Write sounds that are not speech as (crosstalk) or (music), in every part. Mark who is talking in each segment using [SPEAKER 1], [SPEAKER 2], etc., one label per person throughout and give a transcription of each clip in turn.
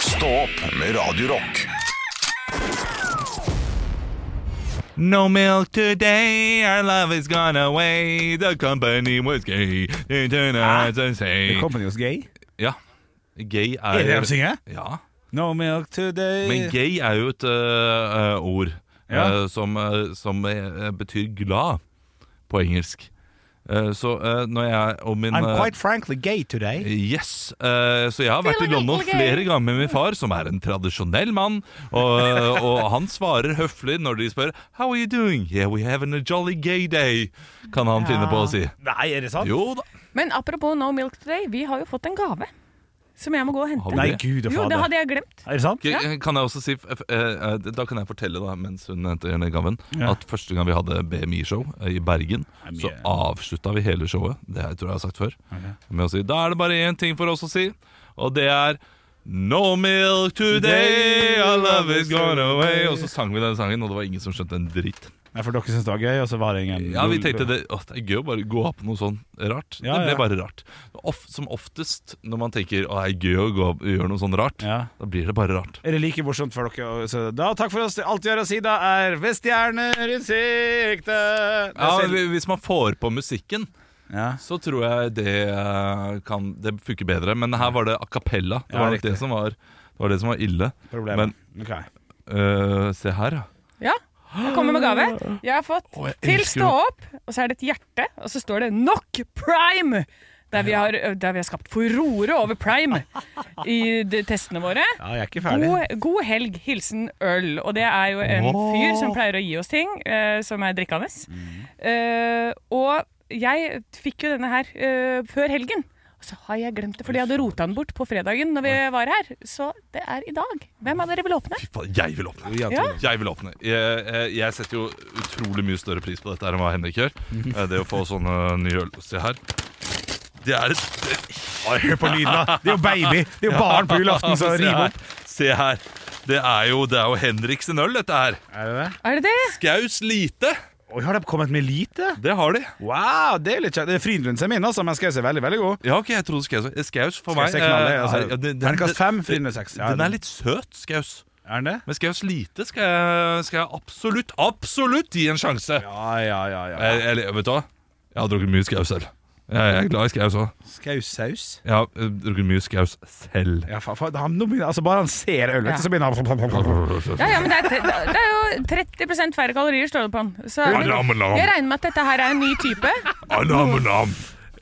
[SPEAKER 1] Stå opp med Radio Rock.
[SPEAKER 2] No milk today, our love is gone away. The company was gay. They turn out to say
[SPEAKER 3] The company was gay.
[SPEAKER 4] Ja. Gay er
[SPEAKER 3] Er Ah. det de synger?
[SPEAKER 4] Ja.
[SPEAKER 3] No milk today.
[SPEAKER 4] Men gay er jo et øh, øh, ord
[SPEAKER 3] Ja.
[SPEAKER 4] øh, som, øh, som øh, betyr glad på engelsk. Eh, så øh, når jeg og min
[SPEAKER 3] I'm
[SPEAKER 4] øh,
[SPEAKER 3] quite frankly gay today.
[SPEAKER 4] Yes, eh, så jeg har vært i London flere ganger med min far, som er en tradisjonell mann, og, og han svarer høflig når de spør How are you doing? Yeah, we having a jolly gay day, kan han finne på å si.
[SPEAKER 3] Nei, er det sant?
[SPEAKER 4] Jo da.
[SPEAKER 5] Men apropos No Milk Today, vi har jo fått en gave. Som jeg må gå og
[SPEAKER 4] Har
[SPEAKER 5] hente.
[SPEAKER 4] vi
[SPEAKER 3] Nei,
[SPEAKER 4] det?
[SPEAKER 3] gud og
[SPEAKER 5] Jo, det
[SPEAKER 3] fader.
[SPEAKER 5] hadde jeg glemt.
[SPEAKER 3] Er det sant?
[SPEAKER 4] K- eh, Kan jeg også si, f- f- eh, eh, da kan jeg fortelle da, mens hun henter denne gaven,
[SPEAKER 3] Ja.
[SPEAKER 4] at første gang vi hadde BMI-show eh, i Bergen,
[SPEAKER 3] mye-
[SPEAKER 4] så avslutta vi hele showet, det her tror jeg jeg har sagt før, med å si da er det bare én ting for oss å si, og det er No milk today, our love is gone away. Og så sang vi den sangen, og det var ingen som skjønte en dritt.
[SPEAKER 3] Nei, for dere syntes det var gøy, og så var det ingen
[SPEAKER 4] Ja, vi tenkte det, åh, det er gøy å bare gå av på noe sånn rart.
[SPEAKER 3] Ja,
[SPEAKER 4] det
[SPEAKER 3] ja.
[SPEAKER 4] ble bare rart. Of, som oftest når man tenker å, det er gøy å gå av, gjøre noe sånn rart,
[SPEAKER 3] Ja.
[SPEAKER 4] da blir det bare rart.
[SPEAKER 3] Er det like morsomt for dere? å- Så da, takk for oss. Alt vi har å si da, er ved stjerner i sikte.
[SPEAKER 4] Ja,
[SPEAKER 3] Det er selv-
[SPEAKER 4] hvi- Hvis man får på musikken,
[SPEAKER 3] ja.
[SPEAKER 4] så tror jeg det eh, kan Det funker bedre. Men her var det a cappella. Det
[SPEAKER 3] Ja,
[SPEAKER 4] var nok
[SPEAKER 3] riktig.
[SPEAKER 4] det som var, det var, det som var ille.
[SPEAKER 3] Problemet. Ok.
[SPEAKER 4] Men eh, se her, ja.
[SPEAKER 5] Ja, jeg kommer med gave. Jeg har fått
[SPEAKER 4] Å, jeg
[SPEAKER 5] til
[SPEAKER 4] elsker
[SPEAKER 5] Stå opp, og så er det et hjerte, og så står det Nok Prime! Der vi har, der vi har skapt furore over Prime i de testene våre.
[SPEAKER 3] Ja, jeg er ikke ferdig.
[SPEAKER 5] God, god helg, hilsen øl. Og det er jo en fyr som pleier å gi oss ting eh, som er drikkende.
[SPEAKER 3] Mm.
[SPEAKER 5] Eh, og jeg fikk jo denne her eh, før helgen. Og så har jeg glemt det, fordi jeg hadde rota den bort på fredagen når vi var her. Så det er i dag. Hvem av dere vil åpne?
[SPEAKER 4] Fy faen, jeg vil åpne! Jeg,
[SPEAKER 5] tror det.
[SPEAKER 4] jeg vil åpne. Jeg, eh, jeg setter jo utrolig mye større pris på dette her enn hva Henrik gjør. Eh, Det å få sånne nye øl. Se her. Det er
[SPEAKER 3] (laughs)
[SPEAKER 4] et
[SPEAKER 3] Å, Hør på lyden, da. Det er jo baby. Det er jo barn på julaften
[SPEAKER 4] (laughs)
[SPEAKER 3] som
[SPEAKER 4] Se
[SPEAKER 3] river
[SPEAKER 4] her.
[SPEAKER 3] opp.
[SPEAKER 4] Se her. Det er jo, det er jo Henrik sin øl, dette her.
[SPEAKER 3] Er det det?
[SPEAKER 5] Er det det?
[SPEAKER 4] Skaus lite.
[SPEAKER 3] Oi, har de kommet med lite?
[SPEAKER 4] Det har de.
[SPEAKER 3] Wow, det er litt kjekt. Det er Frydenlund som er min, altså, men skal jeg se veldig, veldig god.
[SPEAKER 4] Ja, ok, jeg trodde skaus var- Skaus for meg
[SPEAKER 3] Skal jeg se knallet,
[SPEAKER 4] eh,
[SPEAKER 3] altså,
[SPEAKER 4] er- ja, det- den- den-
[SPEAKER 3] terningkast fem, Frydenlund seks. Ja,
[SPEAKER 4] Den er litt søt, skaus.
[SPEAKER 3] Er den det?
[SPEAKER 4] Men skaus lite skal jeg, skal jeg absolutt, absolutt gi en sjanse.
[SPEAKER 3] Ja, ja, ja. ja.
[SPEAKER 4] Jeg, jeg, vet du hva? Jeg har drukket mye skaus selv. Jeg jeg er glad i skaus òg.
[SPEAKER 3] Skaussaus?
[SPEAKER 4] Jeg har eh, drukket mye skaus selv.
[SPEAKER 3] Ja, faen, faen, han, nå begynner, altså bare han ser øl, vet du, så begynner han
[SPEAKER 5] Ja, ja, men det er, te- det er jo 30 færre kalorier, står det på den. Så er det-
[SPEAKER 4] Alam-alam.
[SPEAKER 5] jeg regner med at dette her er en ny type.
[SPEAKER 4] Alam-alam.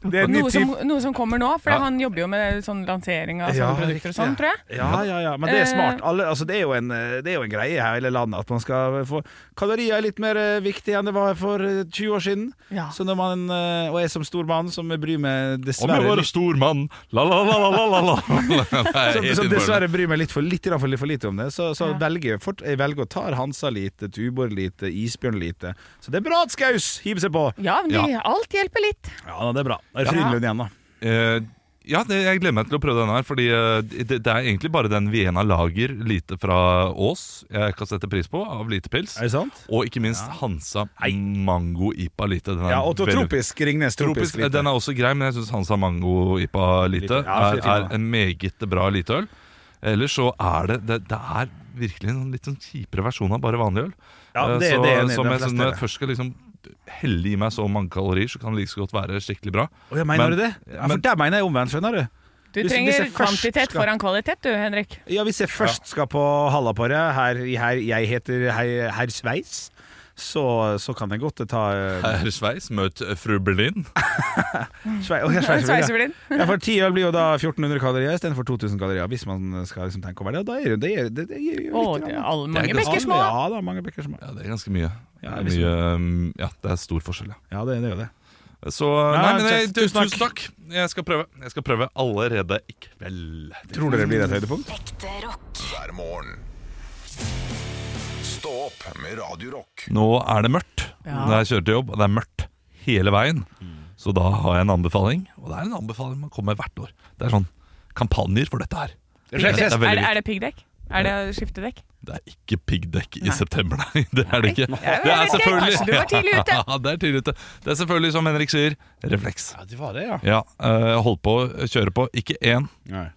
[SPEAKER 3] Det er en ny
[SPEAKER 5] Noe som,
[SPEAKER 3] type.
[SPEAKER 5] noe som kommer nå. For
[SPEAKER 4] Ja.
[SPEAKER 5] han jobber jo med sånn lansering av
[SPEAKER 3] Ja,
[SPEAKER 5] sånne produkter og sånn,
[SPEAKER 3] riktig.
[SPEAKER 5] tror jeg. Eh.
[SPEAKER 3] Ja, ja, ja, men det er smart. Alle, altså, det, er jo en, eh, det er jo en greie her i hele landet at man skal få Kalorier er litt mer eh, viktig enn det var for eh, 20 år siden.
[SPEAKER 5] Ja.
[SPEAKER 3] Så når man, eh, og jeg som stor mann som bryr meg
[SPEAKER 4] Om jeg
[SPEAKER 3] dessverre
[SPEAKER 4] var en
[SPEAKER 3] litt,
[SPEAKER 4] stor mann
[SPEAKER 3] (laughs)
[SPEAKER 4] La-la-la-la-la-la.
[SPEAKER 3] som, som dessverre bryr meg litt for, litt, grann for, litt for lite om det, så, så velger jeg fort, jeg velger å ta Hansa lite, Tuborg lite, Isbjørn lite. Så det er bra at Skaus hiver seg på!
[SPEAKER 5] Ja, men de, alt hjelper litt.
[SPEAKER 3] Ja, det er bra. Da er det Frydenlund igjen, da.
[SPEAKER 4] Eh, ja, det, jeg gleder meg til å prøve denne her, fordi eh, det, det er egentlig bare den Vienna Lager lite fra Ås jeg kan sette pris på, av lite pils.
[SPEAKER 3] Er det sant?
[SPEAKER 4] Og ikke minst Hansa Mango Ipa lite. Den er
[SPEAKER 3] Ja, og
[SPEAKER 4] veldig-
[SPEAKER 3] tropisk Ringnes tropisk.
[SPEAKER 4] Tropisk, eh,
[SPEAKER 3] lite.
[SPEAKER 4] den er også grei, men jeg syns Hansa Mango Ipa lite
[SPEAKER 3] Lite, ja,
[SPEAKER 4] er,
[SPEAKER 3] fin, fin,
[SPEAKER 4] er
[SPEAKER 3] da.
[SPEAKER 4] en meget bra liteøl. Ellers så er det Det, det er virkelig en sånn litt sånn kjipere versjon av bare vanlig øl.
[SPEAKER 3] Ja,
[SPEAKER 4] Eh,
[SPEAKER 3] det-
[SPEAKER 4] så,
[SPEAKER 3] det er jeg enig i,
[SPEAKER 4] som
[SPEAKER 3] de
[SPEAKER 4] jeg,
[SPEAKER 3] fleste
[SPEAKER 4] sånn, når
[SPEAKER 3] er
[SPEAKER 4] jeg
[SPEAKER 3] det.
[SPEAKER 4] først skal liksom helle i meg så mange kalorier, så kan det like så godt være skikkelig bra.
[SPEAKER 3] Å, ja, mener
[SPEAKER 4] Men-
[SPEAKER 3] du det? Ja, for
[SPEAKER 4] men-
[SPEAKER 3] der mener jeg omvendt, skjønner du.
[SPEAKER 5] Du
[SPEAKER 3] Hvis- hvis
[SPEAKER 5] trenger
[SPEAKER 3] jeg først
[SPEAKER 5] kvantitet
[SPEAKER 3] skal-
[SPEAKER 5] foran kvalitet, du, Henrik.
[SPEAKER 3] Ja, hvis jeg først skal på Hallaparet, her, her jeg heter herr her Sveis, så, så kan jeg godt ta eh,
[SPEAKER 4] Herr Sveis, møt eh, fru Berlin.
[SPEAKER 3] Svei, Å, jeg er
[SPEAKER 5] Sveiser
[SPEAKER 3] sveiser,
[SPEAKER 5] vi den?
[SPEAKER 3] ja. ja, for 10 øl blir jo da 1400 kalorier istedenfor 2000 kalorier, hvis man skal liksom tenke over det. Og da er det, det, er- det, det gir jo
[SPEAKER 5] Å,
[SPEAKER 3] litt
[SPEAKER 5] det er
[SPEAKER 3] grann.
[SPEAKER 5] alle mange
[SPEAKER 4] Det er ganske-
[SPEAKER 5] bekker små.
[SPEAKER 3] Ja da, mange bekker små.
[SPEAKER 4] Ja, det er ganske mye.
[SPEAKER 3] Ja,
[SPEAKER 4] Det er
[SPEAKER 3] hvis-
[SPEAKER 4] mye, um, ja, det er stor forskjell, ja.
[SPEAKER 3] Ja, det, det er jo det.
[SPEAKER 4] Så
[SPEAKER 3] Nei,
[SPEAKER 4] Nei, men jeg,
[SPEAKER 3] Jeff,
[SPEAKER 4] tusen,
[SPEAKER 3] tusen
[SPEAKER 4] takk. Jeg skal prøve. Jeg skal prøve allerede i kveld.
[SPEAKER 3] Tror dere det blir et høydepunkt?
[SPEAKER 1] hver morgen. Stå opp med Radio Rock.
[SPEAKER 4] Nå er det mørkt.
[SPEAKER 5] Ja.
[SPEAKER 4] Når jeg kjører til jobb, og det er mørkt hele veien.
[SPEAKER 5] Mm.
[SPEAKER 4] Så da har jeg en anbefaling, og det er en anbefaling man kommer med hvert år. Det er sånn kampanjer for dette her.
[SPEAKER 5] Er,
[SPEAKER 4] Det er veldig
[SPEAKER 5] det- er det piggdekk? Er det skiftedekk?
[SPEAKER 4] Det er ikke piggdekk i
[SPEAKER 5] Nei.
[SPEAKER 4] september, nei. Det er det ikke.
[SPEAKER 5] jeg
[SPEAKER 4] Det er
[SPEAKER 5] vet ikke.
[SPEAKER 4] selvfølgelig
[SPEAKER 5] Kanskje du var tidlig ute.
[SPEAKER 4] (laughs) Ja, det er tidlig ute. Det er selvfølgelig, som Henrik sier, refleks.
[SPEAKER 3] Ja, det var det, ja.
[SPEAKER 4] Ja, eh, Hold på, kjøre på. Ikke én,
[SPEAKER 3] Nei.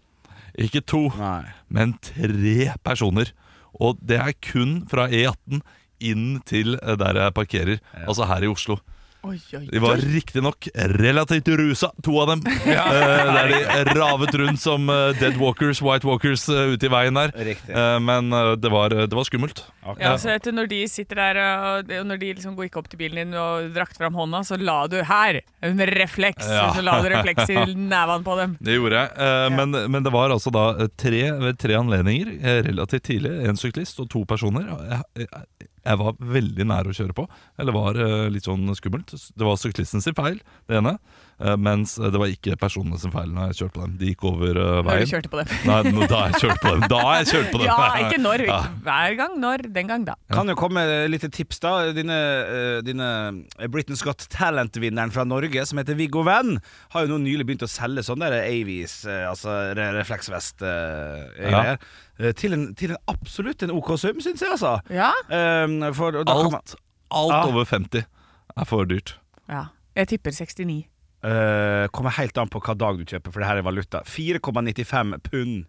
[SPEAKER 4] ikke to,
[SPEAKER 3] Nei.
[SPEAKER 4] men tre personer. Og det er kun fra E18 inn til eh, der jeg parkerer, altså her i Oslo.
[SPEAKER 5] Oi, oi,
[SPEAKER 4] De var riktignok relativt rusa, to av dem. Eh, der de ravet rundt som eh, Dead Walkers, White Walkers eh, ute i veien der.
[SPEAKER 3] Riktig.
[SPEAKER 4] Eh, men eh, det, var, det var skummelt.
[SPEAKER 5] Ja, så vet du, når de sitter der og og når de liksom gikk opp til bilen din og drakk fram hånda, så la du her en refleks.
[SPEAKER 4] Ja.
[SPEAKER 5] Så la du refleks i nevene på dem.
[SPEAKER 4] Det gjorde jeg. Eh, men, men det var altså da eh, tre, ved tre anledninger eh, relativt tidlig. En syklist og to personer. Og Jeg, jeg, jeg var veldig nær å kjøre på. Eller var eh, litt sånn skummelt. Det var syklisten sin feil, det ene. eh, mens det var ikke personene sin feil når jeg kjørte på dem. De gikk over eh,
[SPEAKER 5] Når du
[SPEAKER 4] veien.
[SPEAKER 5] kjørte på dem.
[SPEAKER 4] Nei, nå- da jeg kjørte på dem. Da jeg kjørte (laughs) på
[SPEAKER 5] (laughs)
[SPEAKER 4] dem.
[SPEAKER 5] Ja, ikke når.
[SPEAKER 4] Ja.
[SPEAKER 5] Hver gang når, den gang da.
[SPEAKER 3] Kan jo komme et lite tips, da. Dine, eh, dine Britain's Got Talent-vinneren fra Norge, som heter Viggo Venn, har jo nå nylig begynt å selge sånne der Avies, eh, altså re- refleksvest eh,
[SPEAKER 4] Ja.
[SPEAKER 3] greier, eh, til, en, til en absolutt en OK sum, syns jeg, altså.
[SPEAKER 5] Ja.
[SPEAKER 3] Eh, for, og da kan man-
[SPEAKER 4] Alt, alt
[SPEAKER 3] Ja.
[SPEAKER 4] over 50 er for dyrt.
[SPEAKER 5] ja. Jeg tipper 69.
[SPEAKER 3] Eh, kommer helt an på hva dag du kjøper, for det her er valuta. 4,95 pund.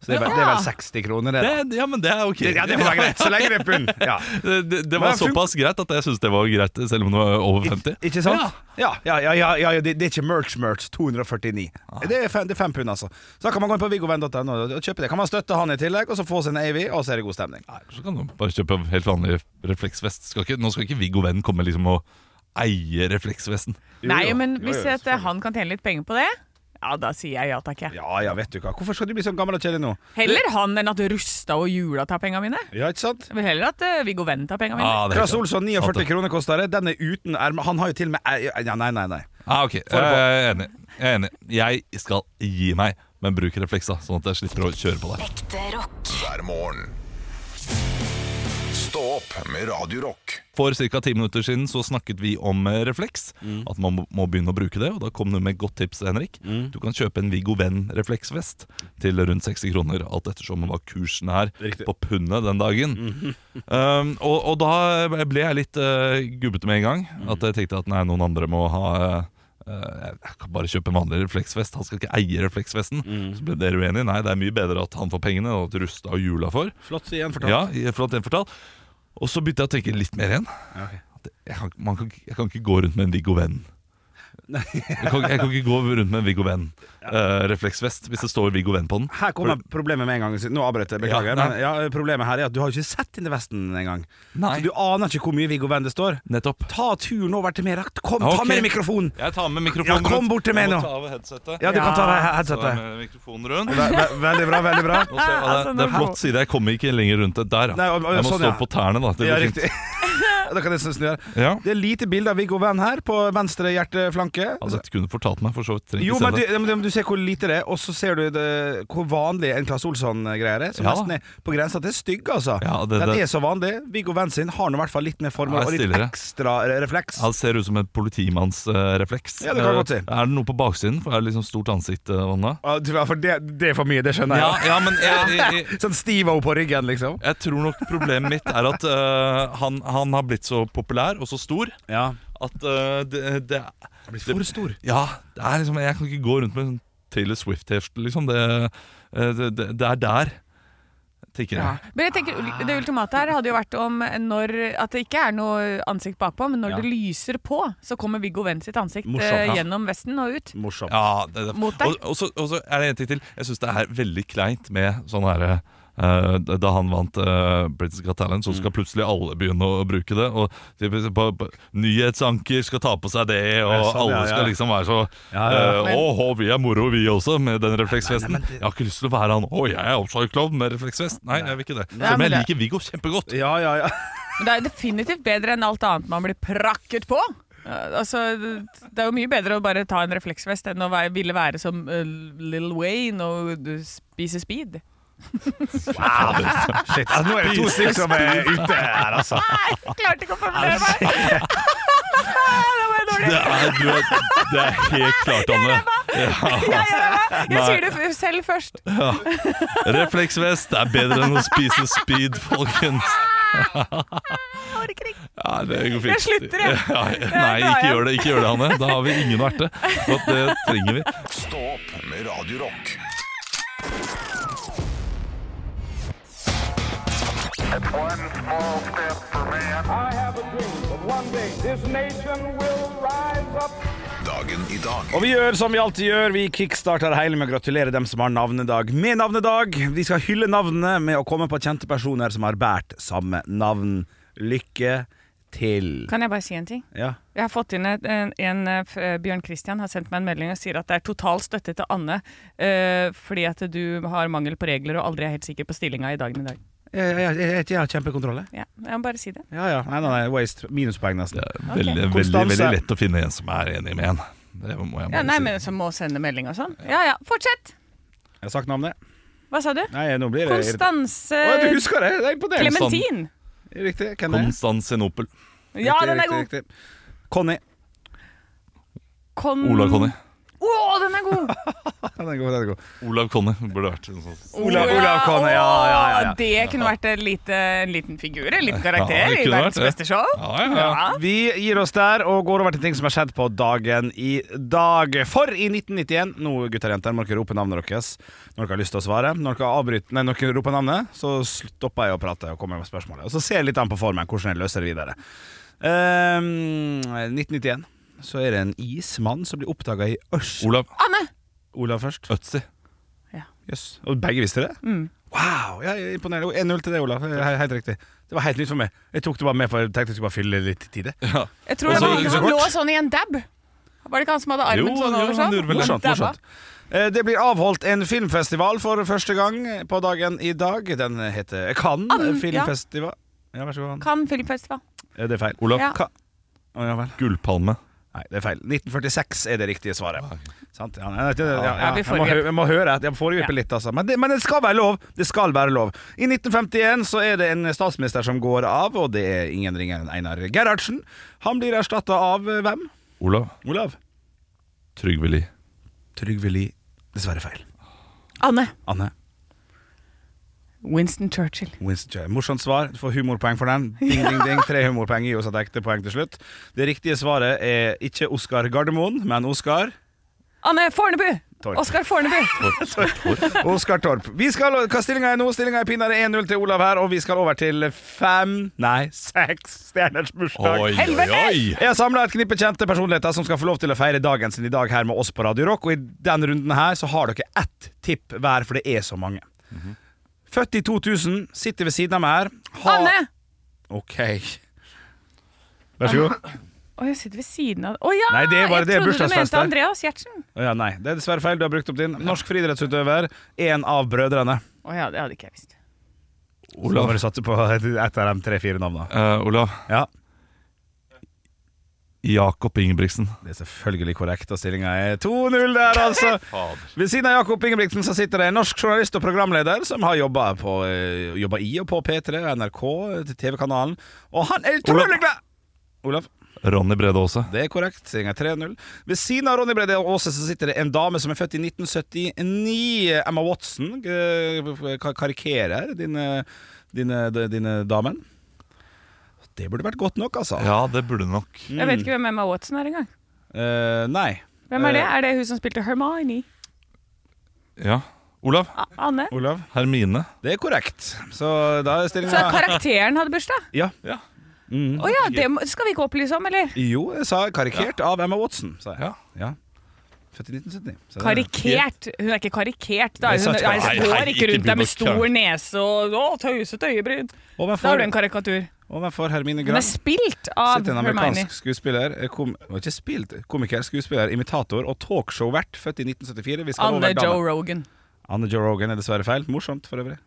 [SPEAKER 3] Så det er, vel, det er vel 60 kroner, det.
[SPEAKER 4] Det,
[SPEAKER 3] da.
[SPEAKER 4] ja, men det er ok.
[SPEAKER 3] Ja, det får være greit, så lenge det er pund. Ja.
[SPEAKER 4] Det, det, det
[SPEAKER 3] Men
[SPEAKER 4] var
[SPEAKER 3] det fun-
[SPEAKER 4] såpass greit at jeg syntes det var greit, selv om det var over 50.
[SPEAKER 3] Ik ikke sant? Ja, ja, ja, ja, ja, ja det, det er ikke merch-merch 249.
[SPEAKER 4] Ah.
[SPEAKER 3] Det er, fem, det er fem pund, altså. Så da kan man gå inn på viggovenn.no og og kjøpe det. Kan man støtte han i tillegg, og så få sin AV, og så er det god stemning.
[SPEAKER 4] Nei, så kan du bare kjøpe helt vanlig refleksvest. Skal ikke, nå skal ikke Viggo Venn komme liksom og eie refleksvesten.
[SPEAKER 3] Jo,
[SPEAKER 5] Nei,
[SPEAKER 3] jo.
[SPEAKER 5] men
[SPEAKER 3] Jo,
[SPEAKER 5] hvis
[SPEAKER 3] jo,
[SPEAKER 5] at han kan tjene litt penger på det, ja, da sier jeg ja takk, jeg.
[SPEAKER 3] Ja ja, vet du hva. Hvorfor skal du bli sånn gammel og kjedelig nå?
[SPEAKER 5] Heller han enn at Rusta og Jula tar penga mine.
[SPEAKER 3] Ja, ikke sant?
[SPEAKER 5] Jeg vil heller at eh, Viggo Venn tar penga mine.
[SPEAKER 4] Ah, det er
[SPEAKER 3] Klass
[SPEAKER 4] helt sant.
[SPEAKER 3] Olsson, 49 kroner koster det. Den er uten erme. Han har jo til og med er- ja, Nei, nei, nei.
[SPEAKER 4] Ah, ok, jeg er enig. Jeg er enig. Jeg skal gi meg, men bruk refleksa, sånn at jeg slipper å kjøre på deg.
[SPEAKER 1] hver morgen. Stå opp med Radio Rock.
[SPEAKER 4] For ca. ti minutter siden så snakket vi om eh, refleks. At man må, må begynne å bruke det. Og da kom du med et godt tips, Henrik. Du kan kjøpe en Viggo Venn-refleksvest til rundt 60 kroner. Alt ettersom hva kursen er på pundet den dagen. um, og, og da ble jeg litt eh, gubbete med en gang. At jeg tenkte at nei, noen andre må ha eh, eh, jeg kan bare kjøpe en vanlig refleksvest. Han skal ikke eie refleksvesten. Så ble dere uenige. Nei, det er mye bedre at han får pengene, og at Rusta og Jula får.
[SPEAKER 3] Flott igjen
[SPEAKER 4] Ja,
[SPEAKER 3] fortalt.
[SPEAKER 4] i- flott gjenfortalt. Og så begynte jeg å tenke litt mer igjen. At Jeg kan, man kan, ikke- jeg kan ikke gå rundt med en Viggo Venn. Jeg kan, jeg kan ikke gå rundt med en Viggo Venn eh, refleksvest hvis det står Viggo Venn på den.
[SPEAKER 3] Her kommer problemet med en gang. Nå avbrøt jeg, beklager.
[SPEAKER 4] Ja, nei.
[SPEAKER 3] men ja, problemet her er at du har jo ikke sett denne vesten engang.
[SPEAKER 4] Nei.
[SPEAKER 3] Så du aner ikke hvor mye Viggo Venn det står.
[SPEAKER 4] Nettopp.
[SPEAKER 3] Ta turen over til meg. Rakt. Kom, ta
[SPEAKER 4] Ok.
[SPEAKER 3] med deg mikrofonen!
[SPEAKER 4] Jeg tar med mikrofonen
[SPEAKER 3] Ja, kom
[SPEAKER 4] rundt.
[SPEAKER 3] bort til meg
[SPEAKER 4] Jeg
[SPEAKER 3] nå.
[SPEAKER 4] må ta av headsetet.
[SPEAKER 3] Ja, du kan ta deg
[SPEAKER 4] Ta
[SPEAKER 3] headsetet.
[SPEAKER 4] med mikrofonen rundt.
[SPEAKER 3] Ve- ve- Veldig bra, veldig (laughs) bra.
[SPEAKER 4] Nå ser jeg hva det, er. det er flott side. Jeg kommer ikke lenger rundt det der. ja.
[SPEAKER 3] Nei, og- og-
[SPEAKER 4] Jeg må
[SPEAKER 3] sånn,
[SPEAKER 4] stå
[SPEAKER 3] ja.
[SPEAKER 4] på tærne, da. Det
[SPEAKER 3] Ja,
[SPEAKER 4] blir fint.
[SPEAKER 3] riktig. (laughs) Da kan jeg snu her.
[SPEAKER 4] Ja.
[SPEAKER 3] Det er lite bilde av Viggo Venn her, på venstre hjerteflanke.
[SPEAKER 4] Ja, dette kunne du Altså, fortalt meg, for så vidt. Trenger
[SPEAKER 3] Jo,
[SPEAKER 4] ikke
[SPEAKER 3] men
[SPEAKER 4] se
[SPEAKER 3] du,
[SPEAKER 4] det.
[SPEAKER 3] ja, men du ser hvor lite det er, og så ser du det, hvor vanlig en Claes Olsson-greie er. Som
[SPEAKER 4] Ja.
[SPEAKER 3] nesten er på grensa til stygg, altså.
[SPEAKER 4] Ja, det-
[SPEAKER 3] Den
[SPEAKER 4] det-
[SPEAKER 3] er så vanlig. Viggo Venn sin har nå i hvert fall litt mer
[SPEAKER 4] Ja,
[SPEAKER 3] formål og litt
[SPEAKER 4] stillere.
[SPEAKER 3] ekstra re- refleks.
[SPEAKER 4] Ja, det ser ut som en politimannsrefleks.
[SPEAKER 3] Ja, det kan jeg godt si.
[SPEAKER 4] Er det noe på baksiden? For er det liksom stort ansikt? eh, Anna?
[SPEAKER 3] Ja, du, ja, For det, det er for mye, det skjønner
[SPEAKER 4] Ja,
[SPEAKER 3] jeg.
[SPEAKER 4] ja, men
[SPEAKER 3] (laughs)
[SPEAKER 4] jeg, jeg, jeg,
[SPEAKER 3] Sånn Steve-O på ryggen, liksom.
[SPEAKER 4] jeg tror nok problemet mitt er at øh, han, han har blitt så populær og så stor
[SPEAKER 3] Ja.
[SPEAKER 4] at øh, det, det
[SPEAKER 3] Han blir for stor.
[SPEAKER 4] Ja, det er liksom Jeg kan ikke eh, gå rundt med en sånn Taylor Swift-hefte, liksom. Det, øh, det, det, det er Ah. der tenker
[SPEAKER 5] Ja.
[SPEAKER 4] jeg.
[SPEAKER 5] Men jeg tenker, det ultimate her hadde jo vært om når, at det ikke er noe ansikt bakpå, men når det lyser på, så kommer Viggo Venn sitt ansikt
[SPEAKER 3] Morsomt,
[SPEAKER 5] eh,
[SPEAKER 3] ja.
[SPEAKER 5] gjennom vesten og ut.
[SPEAKER 3] Morsomt.
[SPEAKER 4] Ja, det, det.
[SPEAKER 5] Mot deg.
[SPEAKER 4] Og, og, så, og så er det en ting til. Jeg syns det er veldig kleint med sånn herre eh, da han vant uh, Britain's Got Talent,
[SPEAKER 3] Mm.
[SPEAKER 4] så skal plutselig alle begynne å bruke det. Og typ på, på, Nyhetsanker skal ta på seg det, og
[SPEAKER 3] Ja, sånn, ja,
[SPEAKER 4] alle
[SPEAKER 3] ja.
[SPEAKER 4] skal liksom være så
[SPEAKER 3] Ja, ja, ja.
[SPEAKER 4] eh, Å, å, vi er moro, vi også, med den refleksvesten. Jeg har ikke lyst til å være han Å, jeg er oppslagsklovn med refleksvest. Nei, jeg vil ikke det.
[SPEAKER 5] Nei,
[SPEAKER 4] Men
[SPEAKER 5] men
[SPEAKER 4] jeg
[SPEAKER 5] det-
[SPEAKER 4] liker Viggo kjempegodt.
[SPEAKER 3] Ja, ja, ja.
[SPEAKER 5] Men det er jo definitivt bedre enn alt annet man blir prakket på. Eh, Altså, det- det er jo mye bedre å bare ta en refleksvest enn å være, ville være som eh, Lil Wayne og du, spise speed. liksom-
[SPEAKER 3] (laughs) Shit, altså, nå er det to stykker som er ute her, altså.
[SPEAKER 5] Nei, jeg klarte ikke å formulere
[SPEAKER 4] (laughs)
[SPEAKER 5] meg! (laughs) det var dårlig.
[SPEAKER 4] Det er, du er, det er helt klart, Anne.
[SPEAKER 5] Jeg, gjør det meg. jeg
[SPEAKER 4] Nei.
[SPEAKER 5] sier det f- selv først.
[SPEAKER 4] Refleksvest er bedre enn å spise speed, folkens. Ja, det går fint.
[SPEAKER 5] Jeg slutter, jeg.
[SPEAKER 4] Ja, nei,
[SPEAKER 5] drar
[SPEAKER 4] ikke
[SPEAKER 5] hjem.
[SPEAKER 4] gjør det, ikke gjør det, Hanne. Da har vi ingen å erte. Og det trenger vi.
[SPEAKER 1] Stå opp med Radio Rock.
[SPEAKER 6] I have a dream that one day this nation will rise up.
[SPEAKER 1] Dagen i dag.
[SPEAKER 3] Og vi gjør som vi alltid gjør, vi kickstarter det hele med å gratulere dem som har navnedag med navnedag. Vi skal hylle navnene med å komme på kjente personer som har båret samme navn. Lykke til.
[SPEAKER 5] Kan jeg bare si en ting?
[SPEAKER 3] Ja.
[SPEAKER 5] Jeg har fått inn et, en, en eh, f- eh, Bjørn Kristian har sendt meg en melding og sier at det er total støtte til Anne eh, fordi at du har mangel på regler og aldri er helt sikker på stillinga i dagen i dag.
[SPEAKER 3] Jeg, jeg, jeg, jeg har kjempekontroll, jeg.
[SPEAKER 5] Ja, jeg må bare si det.
[SPEAKER 3] Ja, ja. Nei, nei, nei, waste. Minuspoeng, nesten.
[SPEAKER 4] Veldig, veldig,
[SPEAKER 3] Konstanse.
[SPEAKER 4] veldig lett å finne en som er enig med en. Det må jeg
[SPEAKER 5] Ja, nei,
[SPEAKER 4] bare si.
[SPEAKER 5] men Som må sende melding og sånn. Ja ja, fortsett!
[SPEAKER 3] Jeg har sagt navnet.
[SPEAKER 5] Hva sa du?
[SPEAKER 3] Nei, nå blir det
[SPEAKER 5] Konstanse
[SPEAKER 3] Å, du husker sånn. det! Det er imponerende.
[SPEAKER 4] Clement.
[SPEAKER 5] Klementin!
[SPEAKER 3] Riktig. Hvem er det?
[SPEAKER 4] Konstantinopel.
[SPEAKER 5] Ja,
[SPEAKER 3] Riktig,
[SPEAKER 5] den er
[SPEAKER 3] riktig,
[SPEAKER 5] god!
[SPEAKER 3] riktig. Conny.
[SPEAKER 5] Kon...
[SPEAKER 4] Olav Conny.
[SPEAKER 5] Å, den er
[SPEAKER 3] (laughs)
[SPEAKER 5] god!
[SPEAKER 3] Ja, den er god, den er god.
[SPEAKER 4] Olav Conny burde vært en sånn.
[SPEAKER 3] Olav- Olav Conny, ja, ja, ja,
[SPEAKER 5] Å,
[SPEAKER 3] ja.
[SPEAKER 5] Det kunne vært en, lite, en liten figur, en liten karakter
[SPEAKER 4] det
[SPEAKER 5] i
[SPEAKER 4] kunne vært
[SPEAKER 5] verdens
[SPEAKER 4] det.
[SPEAKER 5] beste show.
[SPEAKER 4] Ja, ja, ja.
[SPEAKER 3] Vi gir oss der og går over til ting som har skjedd på dagen i dag. For i 1991 Nå, gutter og jenter, må dere rope navnet deres når dere har lyst til å svare. Når dere, avbryter, nei, når dere roper navnet, så stopper jeg å prate og kommer med spørsmålet. Og så ser jeg litt an på formen hvordan jeg løser det videre. Ehm, 1991 så er det en ismann som blir oppdaga i Ørs...
[SPEAKER 4] Olav
[SPEAKER 3] Olav først.
[SPEAKER 4] Øtzi.
[SPEAKER 3] Jøss. Og begge visste det? Wow! Ja, imponerende. 1-0 til deg, Olav. He- Helt riktig. Det var helt nytt for meg. Jeg tok det bare med for jeg tenkte jeg skulle bare fylle litt tid. jeg.
[SPEAKER 5] Jeg tror det
[SPEAKER 4] Også
[SPEAKER 5] var han
[SPEAKER 4] ikke så
[SPEAKER 5] som
[SPEAKER 4] kort.
[SPEAKER 5] lå sånn i en dab. Var det ikke han som hadde
[SPEAKER 4] Jo,
[SPEAKER 5] armen sånn
[SPEAKER 4] jo,
[SPEAKER 5] over
[SPEAKER 4] han
[SPEAKER 5] sånn?
[SPEAKER 4] gjorde vel det.
[SPEAKER 3] Morsomt,
[SPEAKER 5] Dabba.
[SPEAKER 3] morsomt. Eh, Det blir avholdt en filmfestival for første gang på dagen i dag. Den heter Cannes
[SPEAKER 5] Ann, ja.
[SPEAKER 3] filmfestival. Ja, vær så god. Ann.
[SPEAKER 5] Kan filmfestival.
[SPEAKER 3] Eh, Det er feil.
[SPEAKER 4] Olav
[SPEAKER 5] Ja.
[SPEAKER 3] Ka Å, ja vel.
[SPEAKER 4] Gullpalme.
[SPEAKER 3] Nei, det er feil. 1946 er det riktige svaret. Sant? Ja, nei, det- ja, ja.
[SPEAKER 5] Ja, vi
[SPEAKER 3] Jeg, må, hø-
[SPEAKER 5] foregriper.
[SPEAKER 3] jeg må høre etter. Jeg foregriper
[SPEAKER 5] Ja.
[SPEAKER 3] litt, altså. Men det, men det skal være lov! Det skal være lov. I 1951 så er det en statsminister som går av, og det er ingen ringere enn Einar Gerhardsen. Han blir erstatta av eh, hvem?
[SPEAKER 4] Olav
[SPEAKER 3] Olav?
[SPEAKER 4] Trygve Lie.
[SPEAKER 3] Trygve Lie. Dessverre feil.
[SPEAKER 5] Anne.
[SPEAKER 3] Anne?
[SPEAKER 5] Winston Churchill.
[SPEAKER 3] Winston Churchill. Morsomt svar. Du får humorpoeng for den. Ding, ding, ding. Tre humorpoeng gir oss et ekte poeng til slutt. Det riktige svaret er ikke Oskar Gardermoen, men Oskar
[SPEAKER 5] Anne Fornebu!
[SPEAKER 3] Torp.
[SPEAKER 5] Oskar Fornebu.
[SPEAKER 3] Oskar Torp. Vi skal, hva stillinga er nå? Stillinga er pinadø 1-0 til Olav her, og vi skal over til fem, nei, seks stjerners bursdag. Jeg har samla et knippe kjente personligheter som skal få lov til å feire dagen sin i dag her med oss på Radio Rock. Og i den runden her så har dere ett tipp hver, for det er så mange. Født i 2000, sitter ved siden av meg her. Ha-
[SPEAKER 5] Anne!
[SPEAKER 3] Ok. Vær så god.
[SPEAKER 5] Å, jeg sitter ved siden av Å ja!
[SPEAKER 3] Nei, det var- det er
[SPEAKER 5] jeg trodde du
[SPEAKER 3] bursdagsfest, det.
[SPEAKER 5] mente Andreas Gjertsen.
[SPEAKER 3] Å (laughs) ja, nei, det er dessverre feil. Du har brukt opp din. Norsk friidrettsutøver. En av brødrene.
[SPEAKER 5] Å ja, det hadde ikke jeg visst.
[SPEAKER 3] Så
[SPEAKER 4] Olav.
[SPEAKER 3] bare satse på ett av de tre-fire navnene.
[SPEAKER 4] Eh, Olav.
[SPEAKER 3] Ja,
[SPEAKER 4] Jakob Ingebrigtsen.
[SPEAKER 3] det er selvfølgelig korrekt, og stillinga er 2-0 der, (laughs) altså. Ved siden av Jakob Ingebrigtsen så sitter det en norsk journalist og programleder som har jobba, på, eh, jobba i og på P3, NRK, TV-kanalen, og han er utrolig glad Olav.
[SPEAKER 4] Ronny Brede Aase.
[SPEAKER 3] Det er korrekt. Stillinga er 3-0. Ved siden av Ronny Brede Aase så sitter det en dame som er født i 1979. Emma Watson. eh, ka- Karikerer dine, dine, eh, d- dine damen. Det burde vært godt nok, altså.
[SPEAKER 4] Ja, det burde nok.
[SPEAKER 5] Jeg vet ikke hvem Emma Watson er engang.
[SPEAKER 3] Eh, nei.
[SPEAKER 5] Hvem er det?
[SPEAKER 3] Eh.
[SPEAKER 5] Er det hun som spilte Hermione?
[SPEAKER 4] Ja. Olav.
[SPEAKER 5] Anne.
[SPEAKER 3] Olav?
[SPEAKER 4] Hermine.
[SPEAKER 3] Det er korrekt. Så da er
[SPEAKER 5] Så
[SPEAKER 3] stillinga
[SPEAKER 5] karakteren hadde bursdag?
[SPEAKER 3] ja.
[SPEAKER 4] Ja. Mm.
[SPEAKER 5] Å ja, det må- skal vi ikke opplyse om, eller?
[SPEAKER 3] Jo, jeg sa karikert av Emma Watson, sa jeg.
[SPEAKER 4] Ja.
[SPEAKER 3] Ja. Født i 1979. så det-
[SPEAKER 5] Karikert? Hun er ikke karikert. Da
[SPEAKER 3] Nei,
[SPEAKER 5] er hun
[SPEAKER 3] sant,
[SPEAKER 5] nei,
[SPEAKER 4] nei,
[SPEAKER 3] nei,
[SPEAKER 5] går ikke
[SPEAKER 4] ikke
[SPEAKER 5] rundt der med
[SPEAKER 4] begynn å
[SPEAKER 5] stor nese og å, tøysete øyebryn. Da har du en
[SPEAKER 3] Overfor,
[SPEAKER 5] karikatur.
[SPEAKER 3] overfor Hermine
[SPEAKER 5] Hun
[SPEAKER 3] Gram
[SPEAKER 5] er spilt av
[SPEAKER 3] sitter en
[SPEAKER 5] Hermione.
[SPEAKER 3] amerikansk skuespiller eh, kom, var ikke spilt, Komiker, skuespiller, imitator og talkshow-vert, født i 1974. Vi skal
[SPEAKER 5] Anne
[SPEAKER 3] over dame.
[SPEAKER 5] Joe Rogan.
[SPEAKER 3] Anne Joe Rogan er dessverre feil. Morsomt, for øvrig.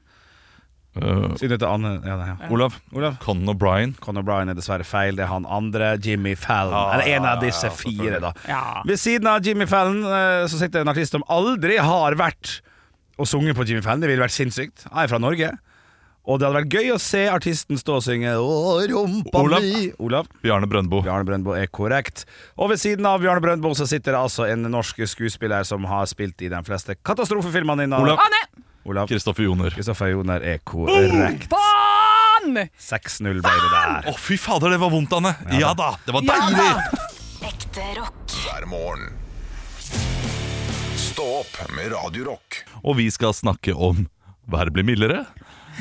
[SPEAKER 4] Eh,
[SPEAKER 3] Siden det er Anne ja, nei, ja.
[SPEAKER 4] Olav.
[SPEAKER 3] Olav.
[SPEAKER 4] Conan O'Brien.
[SPEAKER 3] Conor Bryan er dessverre feil. Det er han andre, Jimmy Fallon.
[SPEAKER 4] Ah,
[SPEAKER 3] Eller en av disse fire, da.
[SPEAKER 5] Ja.
[SPEAKER 3] Ved siden av Jimmy Fallon eh, så sitter en artist som aldri har vært og sunget på Jimmy Fallon. Det ville vært sinnssykt. Han er fra Norge. Og det hadde vært gøy å se artisten stå og synge Å, rumpa
[SPEAKER 4] Olav.
[SPEAKER 3] mi Olav.
[SPEAKER 4] Bjarne Brøndbo.
[SPEAKER 3] Bjarne Brøndbo er korrekt. Og ved siden av Bjarne Brøndbo så sitter det altså en norsk skuespiller som har spilt i de fleste katastrofefilmene innan
[SPEAKER 4] Olav.
[SPEAKER 5] Anne!
[SPEAKER 3] Olav.
[SPEAKER 4] Kristoffer Joner. Å,
[SPEAKER 3] Kristoffer Joner er korrekt.
[SPEAKER 5] Faen!
[SPEAKER 3] 6-0 ble det der.
[SPEAKER 4] fy fader, det var vondt, Anne! Ja da, det var
[SPEAKER 5] Ja
[SPEAKER 4] deilig!
[SPEAKER 5] da!
[SPEAKER 7] Ekte rock.
[SPEAKER 1] hver morgen. Stå opp med Radio Rock.
[SPEAKER 4] Og vi skal snakke om været blir mildere.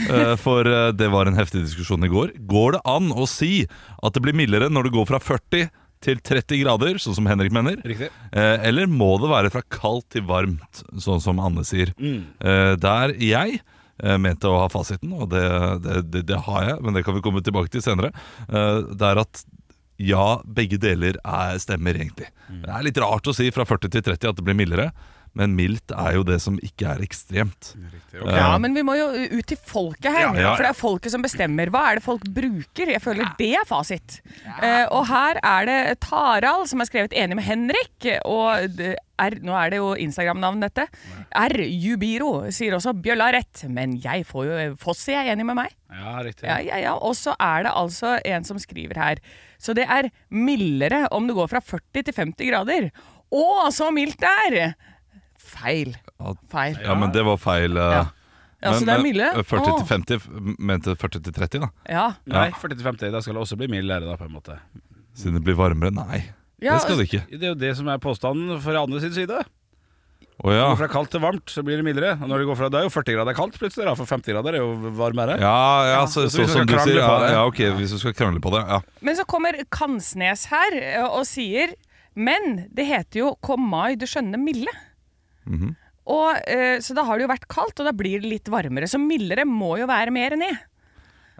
[SPEAKER 4] Eh, For eh, det var en heftig diskusjon i går. Går det an å si at det blir mildere når det går fra 40 til 30 grader, sånn som Henrik mener?
[SPEAKER 3] Riktig.
[SPEAKER 4] Eh, Eller må det være fra kaldt til varmt, sånn som Anne sier?
[SPEAKER 5] Mm.
[SPEAKER 4] Eh, Der jeg eh, mente å ha fasiten, og det, det, det, det har jeg, men det kan vi komme tilbake til senere, eh, det er at ja, begge deler er, stemmer egentlig.
[SPEAKER 5] Mm.
[SPEAKER 4] Det er litt rart å si fra 40 til 30 at det blir mildere, men mildt er jo det som ikke er ekstremt.
[SPEAKER 5] Ja, men vi må jo ut til folket her,
[SPEAKER 4] Ja, ja, ja.
[SPEAKER 5] for det er folket som bestemmer. Hva er det folk bruker? Jeg føler det er fasit. Eh, og her er det Tarald som har skrevet enig med Henrik, og det er, nå er det jo Instagram-navn dette. R. Jubiro sier også Bjølla har rett, men jeg får jo Fossi er enig med meg.
[SPEAKER 3] Ja, riktig.
[SPEAKER 5] Ja, ja, ja. Og så er det altså en som skriver her. Så det er mildere om det går fra 40 til 50 grader. Å, så mildt det er! Feil.
[SPEAKER 4] Ja,
[SPEAKER 5] Feil.
[SPEAKER 4] Ja, men det var feil. eh,
[SPEAKER 5] Ja. Ja, så
[SPEAKER 4] men-
[SPEAKER 5] det er
[SPEAKER 4] men,
[SPEAKER 5] milde.
[SPEAKER 4] eh, 40 til
[SPEAKER 5] Å.
[SPEAKER 4] 50 f- mente 40 til 30, da.
[SPEAKER 5] Ja.
[SPEAKER 3] Nei, 40-50. Da skal det også bli mildere, da, på en måte.
[SPEAKER 4] Siden det blir varmere. Nei,
[SPEAKER 5] Ja,
[SPEAKER 4] det skal det ikke.
[SPEAKER 3] Det er jo det som er påstanden fra andre sin side.
[SPEAKER 4] Å ja.
[SPEAKER 5] altså,
[SPEAKER 3] Går fra kaldt til varmt, så blir det mildere. Og når det går fra Det er jo 40 grader kaldt plutselig, da, for 50 grader er jo varmere.
[SPEAKER 4] Ja, ja, så, så,
[SPEAKER 3] Så hvis
[SPEAKER 4] som
[SPEAKER 3] du skal
[SPEAKER 4] du
[SPEAKER 3] krangle
[SPEAKER 4] sier.
[SPEAKER 3] på
[SPEAKER 4] Ja,
[SPEAKER 3] det.
[SPEAKER 4] ja, ok, hvis du skal krangle på det. Ja.
[SPEAKER 5] Men så kommer Kansnes her ø, og sier Men det heter jo 'Kom mai, du skjønne milde'.
[SPEAKER 4] Mhm.
[SPEAKER 5] Og, ø, så da har det jo vært kaldt, og da blir det litt varmere. Så mildere må jo være mer ned.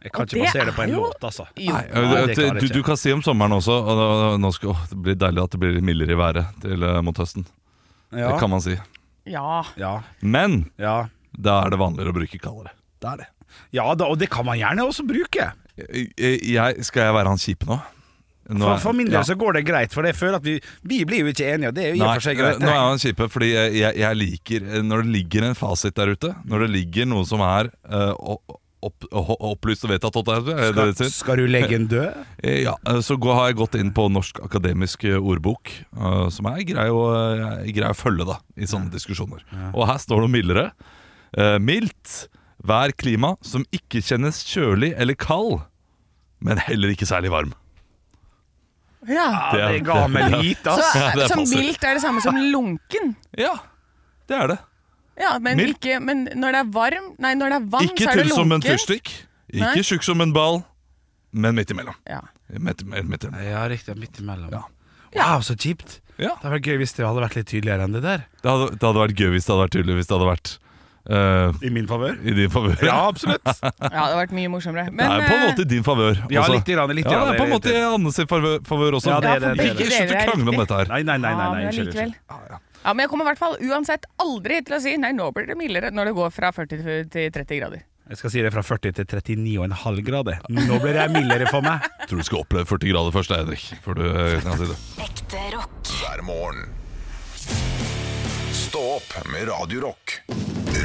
[SPEAKER 3] Jeg kan
[SPEAKER 5] Og
[SPEAKER 3] ikke
[SPEAKER 5] det
[SPEAKER 3] basere det på
[SPEAKER 5] er
[SPEAKER 3] en
[SPEAKER 5] jo-
[SPEAKER 3] låt, altså.
[SPEAKER 5] Jo.
[SPEAKER 4] Nei,
[SPEAKER 3] Nei, det
[SPEAKER 4] du,
[SPEAKER 3] klarer
[SPEAKER 4] du,
[SPEAKER 3] jeg
[SPEAKER 4] du
[SPEAKER 3] ikke.
[SPEAKER 4] kan si om sommeren også og da, nå skal, åh, Det blir deilig at det blir litt mildere i været til, eh, mot høsten.
[SPEAKER 3] Ja.
[SPEAKER 4] Det kan man si.
[SPEAKER 5] Ja.
[SPEAKER 3] Ja,
[SPEAKER 4] Men
[SPEAKER 3] ja.
[SPEAKER 4] da er det vanligere å bruke kaldere. Det er det.
[SPEAKER 3] ja da, og det kan man gjerne også bruke.
[SPEAKER 4] Jeg, jeg, skal jeg være han kjipe nå? Nå
[SPEAKER 3] For,
[SPEAKER 4] er-
[SPEAKER 3] for min del
[SPEAKER 4] ja.
[SPEAKER 3] så går det greit, for jeg føler at vi, vi blir jo ikke enige, og det er jo i og
[SPEAKER 4] Nei,
[SPEAKER 3] for seg
[SPEAKER 4] eh,
[SPEAKER 3] greit.
[SPEAKER 4] nå er han kjipe, fordi jeg, jeg, jeg liker eh, Når det ligger en fasit der ute, når det ligger noe som er eh, opp, opp, opplyst og vedtatt, er det det det
[SPEAKER 3] skal,
[SPEAKER 4] heter?
[SPEAKER 3] skal du legge en
[SPEAKER 4] (laughs)
[SPEAKER 3] død?
[SPEAKER 4] Eh, Ja, eh, så gå, har jeg gått inn på Norsk akademisk eh, ordbok, eh, som er grei å, eh, grei å følge da, i sånne diskusjoner. Og her står det mildere. Eh, mildt, vær klima som ikke kjennes kjølig eller kald, men heller ikke særlig varm.
[SPEAKER 5] ja.
[SPEAKER 4] Det
[SPEAKER 3] Ja,
[SPEAKER 4] er-
[SPEAKER 3] det ga meg lite, ass.
[SPEAKER 4] Ja, det
[SPEAKER 5] Så,
[SPEAKER 4] er
[SPEAKER 5] så
[SPEAKER 4] fasit.
[SPEAKER 5] mildt er det samme som lunken.
[SPEAKER 4] Ja, det er det.
[SPEAKER 5] Ja, men,
[SPEAKER 4] Mildt.
[SPEAKER 5] ikke, men når det er varm Nei, når det er vann,
[SPEAKER 4] Ikke
[SPEAKER 5] så er det
[SPEAKER 4] tynn som en
[SPEAKER 5] lunken.
[SPEAKER 4] fyrstikk,
[SPEAKER 5] Nei.
[SPEAKER 4] ikke tjukk som en ball, men midt imellom.
[SPEAKER 5] Ja.
[SPEAKER 4] Midt, midt, midt imellom.
[SPEAKER 3] Ja, riktig. Midt imellom.
[SPEAKER 4] Ja.
[SPEAKER 3] Wow, så kjipt.
[SPEAKER 4] Ja.
[SPEAKER 3] Det hadde vært gøy hvis det hadde vært litt tydeligere enn det der.
[SPEAKER 4] Det, hadde, det hadde vært gøy hvis det hadde vært tydelig, hvis det hadde vært eh,
[SPEAKER 3] I min favør?
[SPEAKER 4] i din favør.
[SPEAKER 3] Ja, absolutt.
[SPEAKER 5] ja, det hadde vært mye morsommere.
[SPEAKER 4] det er på en
[SPEAKER 5] eh,
[SPEAKER 4] måte i din favør. altså.
[SPEAKER 3] Ja,
[SPEAKER 4] også.
[SPEAKER 3] litt grann, litt
[SPEAKER 4] Ja, det
[SPEAKER 3] grann,
[SPEAKER 4] er på en måte
[SPEAKER 3] litt-
[SPEAKER 4] i Anne sin favør, favør også.
[SPEAKER 3] Ja, det er det, det er
[SPEAKER 4] Ikke
[SPEAKER 5] det.
[SPEAKER 4] slutt å
[SPEAKER 5] Dere er
[SPEAKER 4] krangle om
[SPEAKER 5] riktig.
[SPEAKER 4] dette her.
[SPEAKER 3] Nei, nei, nei. nei,
[SPEAKER 5] Ja,
[SPEAKER 3] nei
[SPEAKER 5] men
[SPEAKER 3] unnskyld,
[SPEAKER 5] allikevel.
[SPEAKER 3] unnskyld.
[SPEAKER 5] Ja, men jeg kommer i hvert fall uansett aldri til å si nei, nå blir det mildere når det går fra 40 til 30 grader.
[SPEAKER 3] Jeg skal si det fra 40 til 39,5 grader. Nå blir det mildere for meg.
[SPEAKER 4] Jeg tror du skal oppleve 40 grader først, Henrik. Før du eh, kan si det.
[SPEAKER 7] Ekte rock.
[SPEAKER 1] hver morgen. Stå opp med Radio Rock.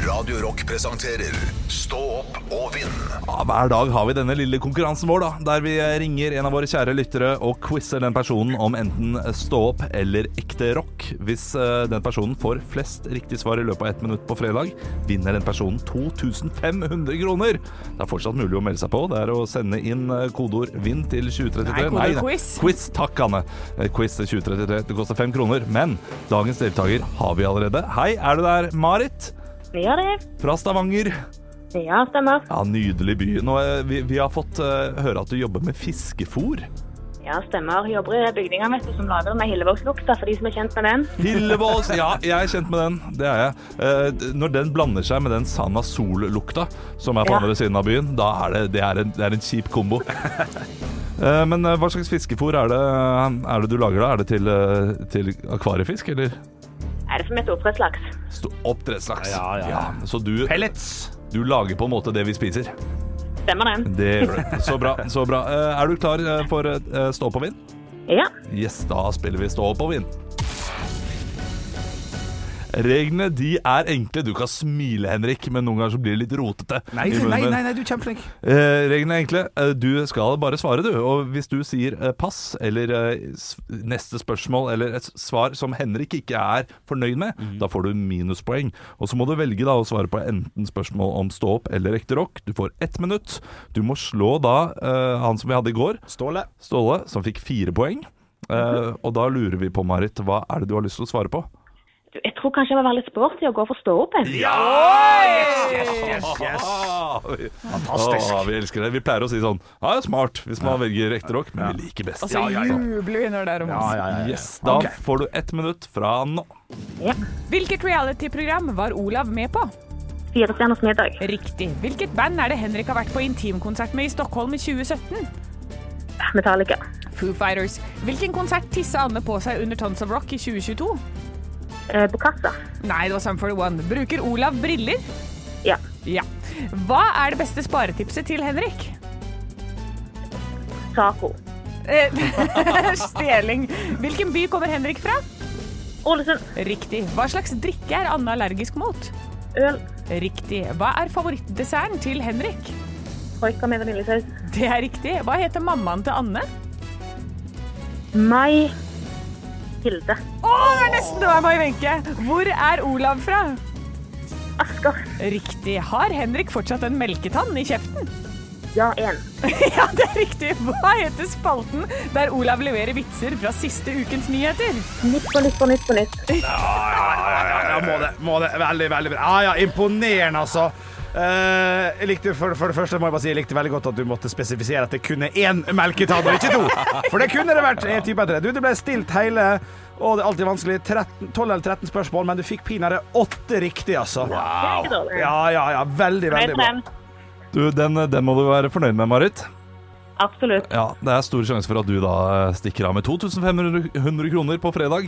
[SPEAKER 1] Radio Rock presenterer Stå opp og vinn.
[SPEAKER 4] Ja, hver dag har vi denne lille konkurransen vår, da, der vi ringer en av våre kjære lyttere og quizer den personen om enten stå opp eller ekte rock. Hvis eh, den personen får flest riktige svar i løpet av ett minutt på fredag, vinner den personen 2500 kroner. Det er fortsatt mulig å melde seg på. Det er å sende inn eh, kodeord 'vinn' til 2033.
[SPEAKER 5] Nei, kodeord quiz.
[SPEAKER 4] quiz. Takk, Anne. Eh, Quiz til 2033. Det koster fem kroner. Men dagens deltaker har vi allerede. Hei, er du der, Marit?
[SPEAKER 8] Vi gjør det.
[SPEAKER 4] Fra Stavanger.
[SPEAKER 8] Ja, stemmer.
[SPEAKER 4] Ja, Nydelig by. Nå, eh, vi, vi har fått eh, høre at du jobber med fiskefôr.
[SPEAKER 8] Ja, stemmer. Jobber i bygninga vet du, som lager med hillevågslukta, for de som er kjent med den.
[SPEAKER 4] Hillevåls! Ja, jeg er kjent med den. Det er jeg. Eh, d- Når den blander seg med den Sana Sol-lukta som er på
[SPEAKER 8] Ja.
[SPEAKER 4] andre siden av byen, da er det, det, er en, det er en kjip kombo. Eh, Men eh, hva slags fiskefôr er det, er det du lager da? Er det til, eh, til akvariefisk, eller?
[SPEAKER 8] Er det som et oppdrettslaks?
[SPEAKER 4] Sto- Oppdrettslaks.
[SPEAKER 3] Ja, ja.
[SPEAKER 4] Så du,
[SPEAKER 3] Pellets.
[SPEAKER 4] du lager på en måte det vi spiser.
[SPEAKER 8] Stemmer den?
[SPEAKER 4] Det gjør du. Så bra. så bra. Eh, Er du klar eh, for eh, stå opp og vinn?
[SPEAKER 8] Ja.
[SPEAKER 4] Yes, da spiller vi stå opp og vinn. Reglene de er enkle. Du kan smile, Henrik, men noen ganger så blir det litt rotete. (laughs)
[SPEAKER 3] Nei,
[SPEAKER 4] i munnen
[SPEAKER 3] nei,
[SPEAKER 4] min.
[SPEAKER 3] nei, nei, du er kjempeflink.
[SPEAKER 4] Eh, reglene er enkle. Eh, du skal bare svare, du. Og hvis du sier eh, pass eller eh, s- neste spørsmål eller et s- svar som Henrik ikke er fornøyd med,
[SPEAKER 3] Mhm.
[SPEAKER 4] da får du minuspoeng. Og så må du velge da å svare på enten spørsmål om stå opp eller ekte rock. Du får ett minutt. Du må slå da eh, han som vi hadde i går,
[SPEAKER 3] Ståle.
[SPEAKER 4] Ståle, som fikk fire poeng. Eh, og da lurer vi på, Marit, hva er det du har lyst til å svare på?
[SPEAKER 8] Du, jeg tror kanskje jeg må være litt sporty og gå for ståoppen.
[SPEAKER 4] Fantastisk. Ah, vi elsker det. Vi pleier å si sånn Ja, det er smart hvis man velger ekte rock, men vi liker best.
[SPEAKER 5] Og så jubler vi når det er romanse.
[SPEAKER 4] Yes, Da får du ett minutt fra nå.
[SPEAKER 5] Hvilket reality-program var Olav med på?
[SPEAKER 8] Fire stjerners middag.
[SPEAKER 5] Riktig. Hvilket band er det Henrik har vært på intimkonsert med i Stockholm i 2017?
[SPEAKER 8] Metallica.
[SPEAKER 5] Foo Fighters. Hvilken konsert tissa Anne på seg under Tons of Rock i 2022?
[SPEAKER 8] Eh, Bocassa.
[SPEAKER 5] Nei, det var Sum 41. Bruker Olav briller?
[SPEAKER 8] Ja.
[SPEAKER 5] Ja. Hva er det beste sparetipset til Henrik?
[SPEAKER 8] Taco.
[SPEAKER 5] Eh, (laughs) Stjeling. Hvilken by kommer Henrik fra?
[SPEAKER 8] Ålesund.
[SPEAKER 5] Riktig. Hva slags drikke er Anne allergisk mot?
[SPEAKER 8] Øl.
[SPEAKER 5] Riktig. Hva er favorittdesserten til Henrik?
[SPEAKER 8] Troika med vaniljesaus.
[SPEAKER 5] Det er riktig. Hva heter mammaen til Anne?
[SPEAKER 8] Mai. Hilde.
[SPEAKER 5] Å, det er nesten det var Mai Wenche! Hvor er Olav fra?
[SPEAKER 8] Asker.
[SPEAKER 5] Riktig. Har Henrik fortsatt en melketann i kjeften? (laughs)
[SPEAKER 8] Ja, én.
[SPEAKER 5] Ja, det er riktig. Hva heter spalten der Olav leverer vitser fra siste ukens nyheter?
[SPEAKER 8] Nytt på nytt på nytt på nytt.
[SPEAKER 3] Ja, må det. Må det. Veldig, veldig bra. Ja, ja, imponerende, altså. Eh, jeg likte, for, for det første må jeg bare si Jeg likte veldig godt at du måtte spesifisere at det kun er én melketann, og ikke to. For det kunne det vært. Jeg typer etter det. Du, det ble stilt hele og det er alltid vanskelig 13, 12 eller 13 spørsmål, men du fikk pinadø åtte riktig, altså.
[SPEAKER 8] Ikke dårlig.
[SPEAKER 3] Ja, ja, ja. Veldig,
[SPEAKER 8] Fornøyd
[SPEAKER 3] veldig
[SPEAKER 8] med
[SPEAKER 3] bra.
[SPEAKER 8] den.
[SPEAKER 4] Du, den, den må du være fornøyd med, Marit.
[SPEAKER 8] Absolutt.
[SPEAKER 4] Ja, Det er stor sjanse for at du da eh, stikker av med 2500 100 kroner på fredag.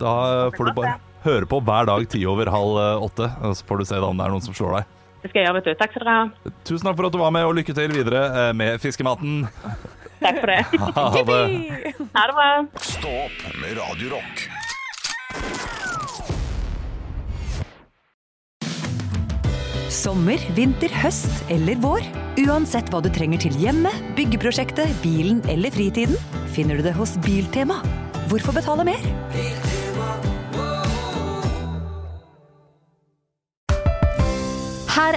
[SPEAKER 4] Da eh, får du bare høre på hver dag ti over halv eh, åtte, og så får du se da om det er noen som slår deg.
[SPEAKER 8] Det skal jeg gjøre, vet du. Takk skal dere ha.
[SPEAKER 4] Tusen takk for at du var med, og lykke til videre eh, med fiskematen.
[SPEAKER 3] (laughs)
[SPEAKER 8] Takk for det.
[SPEAKER 4] Ha det.
[SPEAKER 8] Ha det bra.
[SPEAKER 1] Stå opp med Radio Rock.
[SPEAKER 9] Sommer, vinter, høst eller vår. Uansett hva du trenger til hjemmet, byggeprosjektet, bilen eller fritiden, finner du det hos Biltema. Hvorfor betale mer?
[SPEAKER 10] Her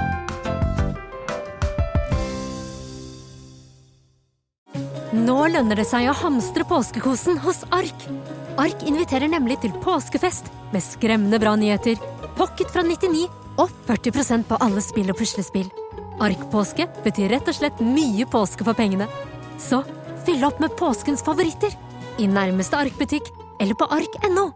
[SPEAKER 9] Nå lønner det seg å hamstre påskekosen hos Ark. Ark inviterer nemlig til påskefest med skremmende bra nyheter, pocket fra 99 og 40 på alle spill og puslespill. Ark-påske betyr rett og slett mye påske for pengene. Så fyll opp med påskens favoritter i nærmeste Ark-butikk eller på ark.no.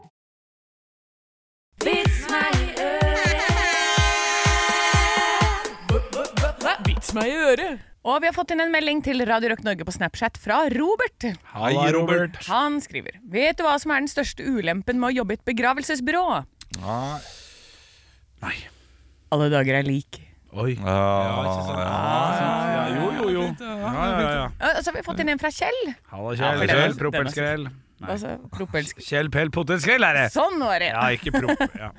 [SPEAKER 5] Vits meg i øret! Og vi har fått inn en melding til Radio Rock Norge på Snapchat fra Robert.
[SPEAKER 4] Hei, Robert.
[SPEAKER 5] Han skriver Vet du hva som er den største ulempen med å jobbe i et begravelsesbyrå?
[SPEAKER 3] Nei.
[SPEAKER 5] Alle dager er lik.
[SPEAKER 3] Oi. Ja, ikke sant. Ja, jo, jo, jo. Ja, ja,
[SPEAKER 5] Og
[SPEAKER 3] ja.
[SPEAKER 5] så har altså, vi fått inn en fra Kjell.
[SPEAKER 3] Halla,
[SPEAKER 5] Ja, for
[SPEAKER 3] Kjell.
[SPEAKER 5] det er-
[SPEAKER 3] Kjell, propelskrell.
[SPEAKER 5] Altså, propelsk.
[SPEAKER 3] Kjell Pell Potelskrell er det.
[SPEAKER 5] Sånn var det!
[SPEAKER 3] Ja, ikke prop... Ja,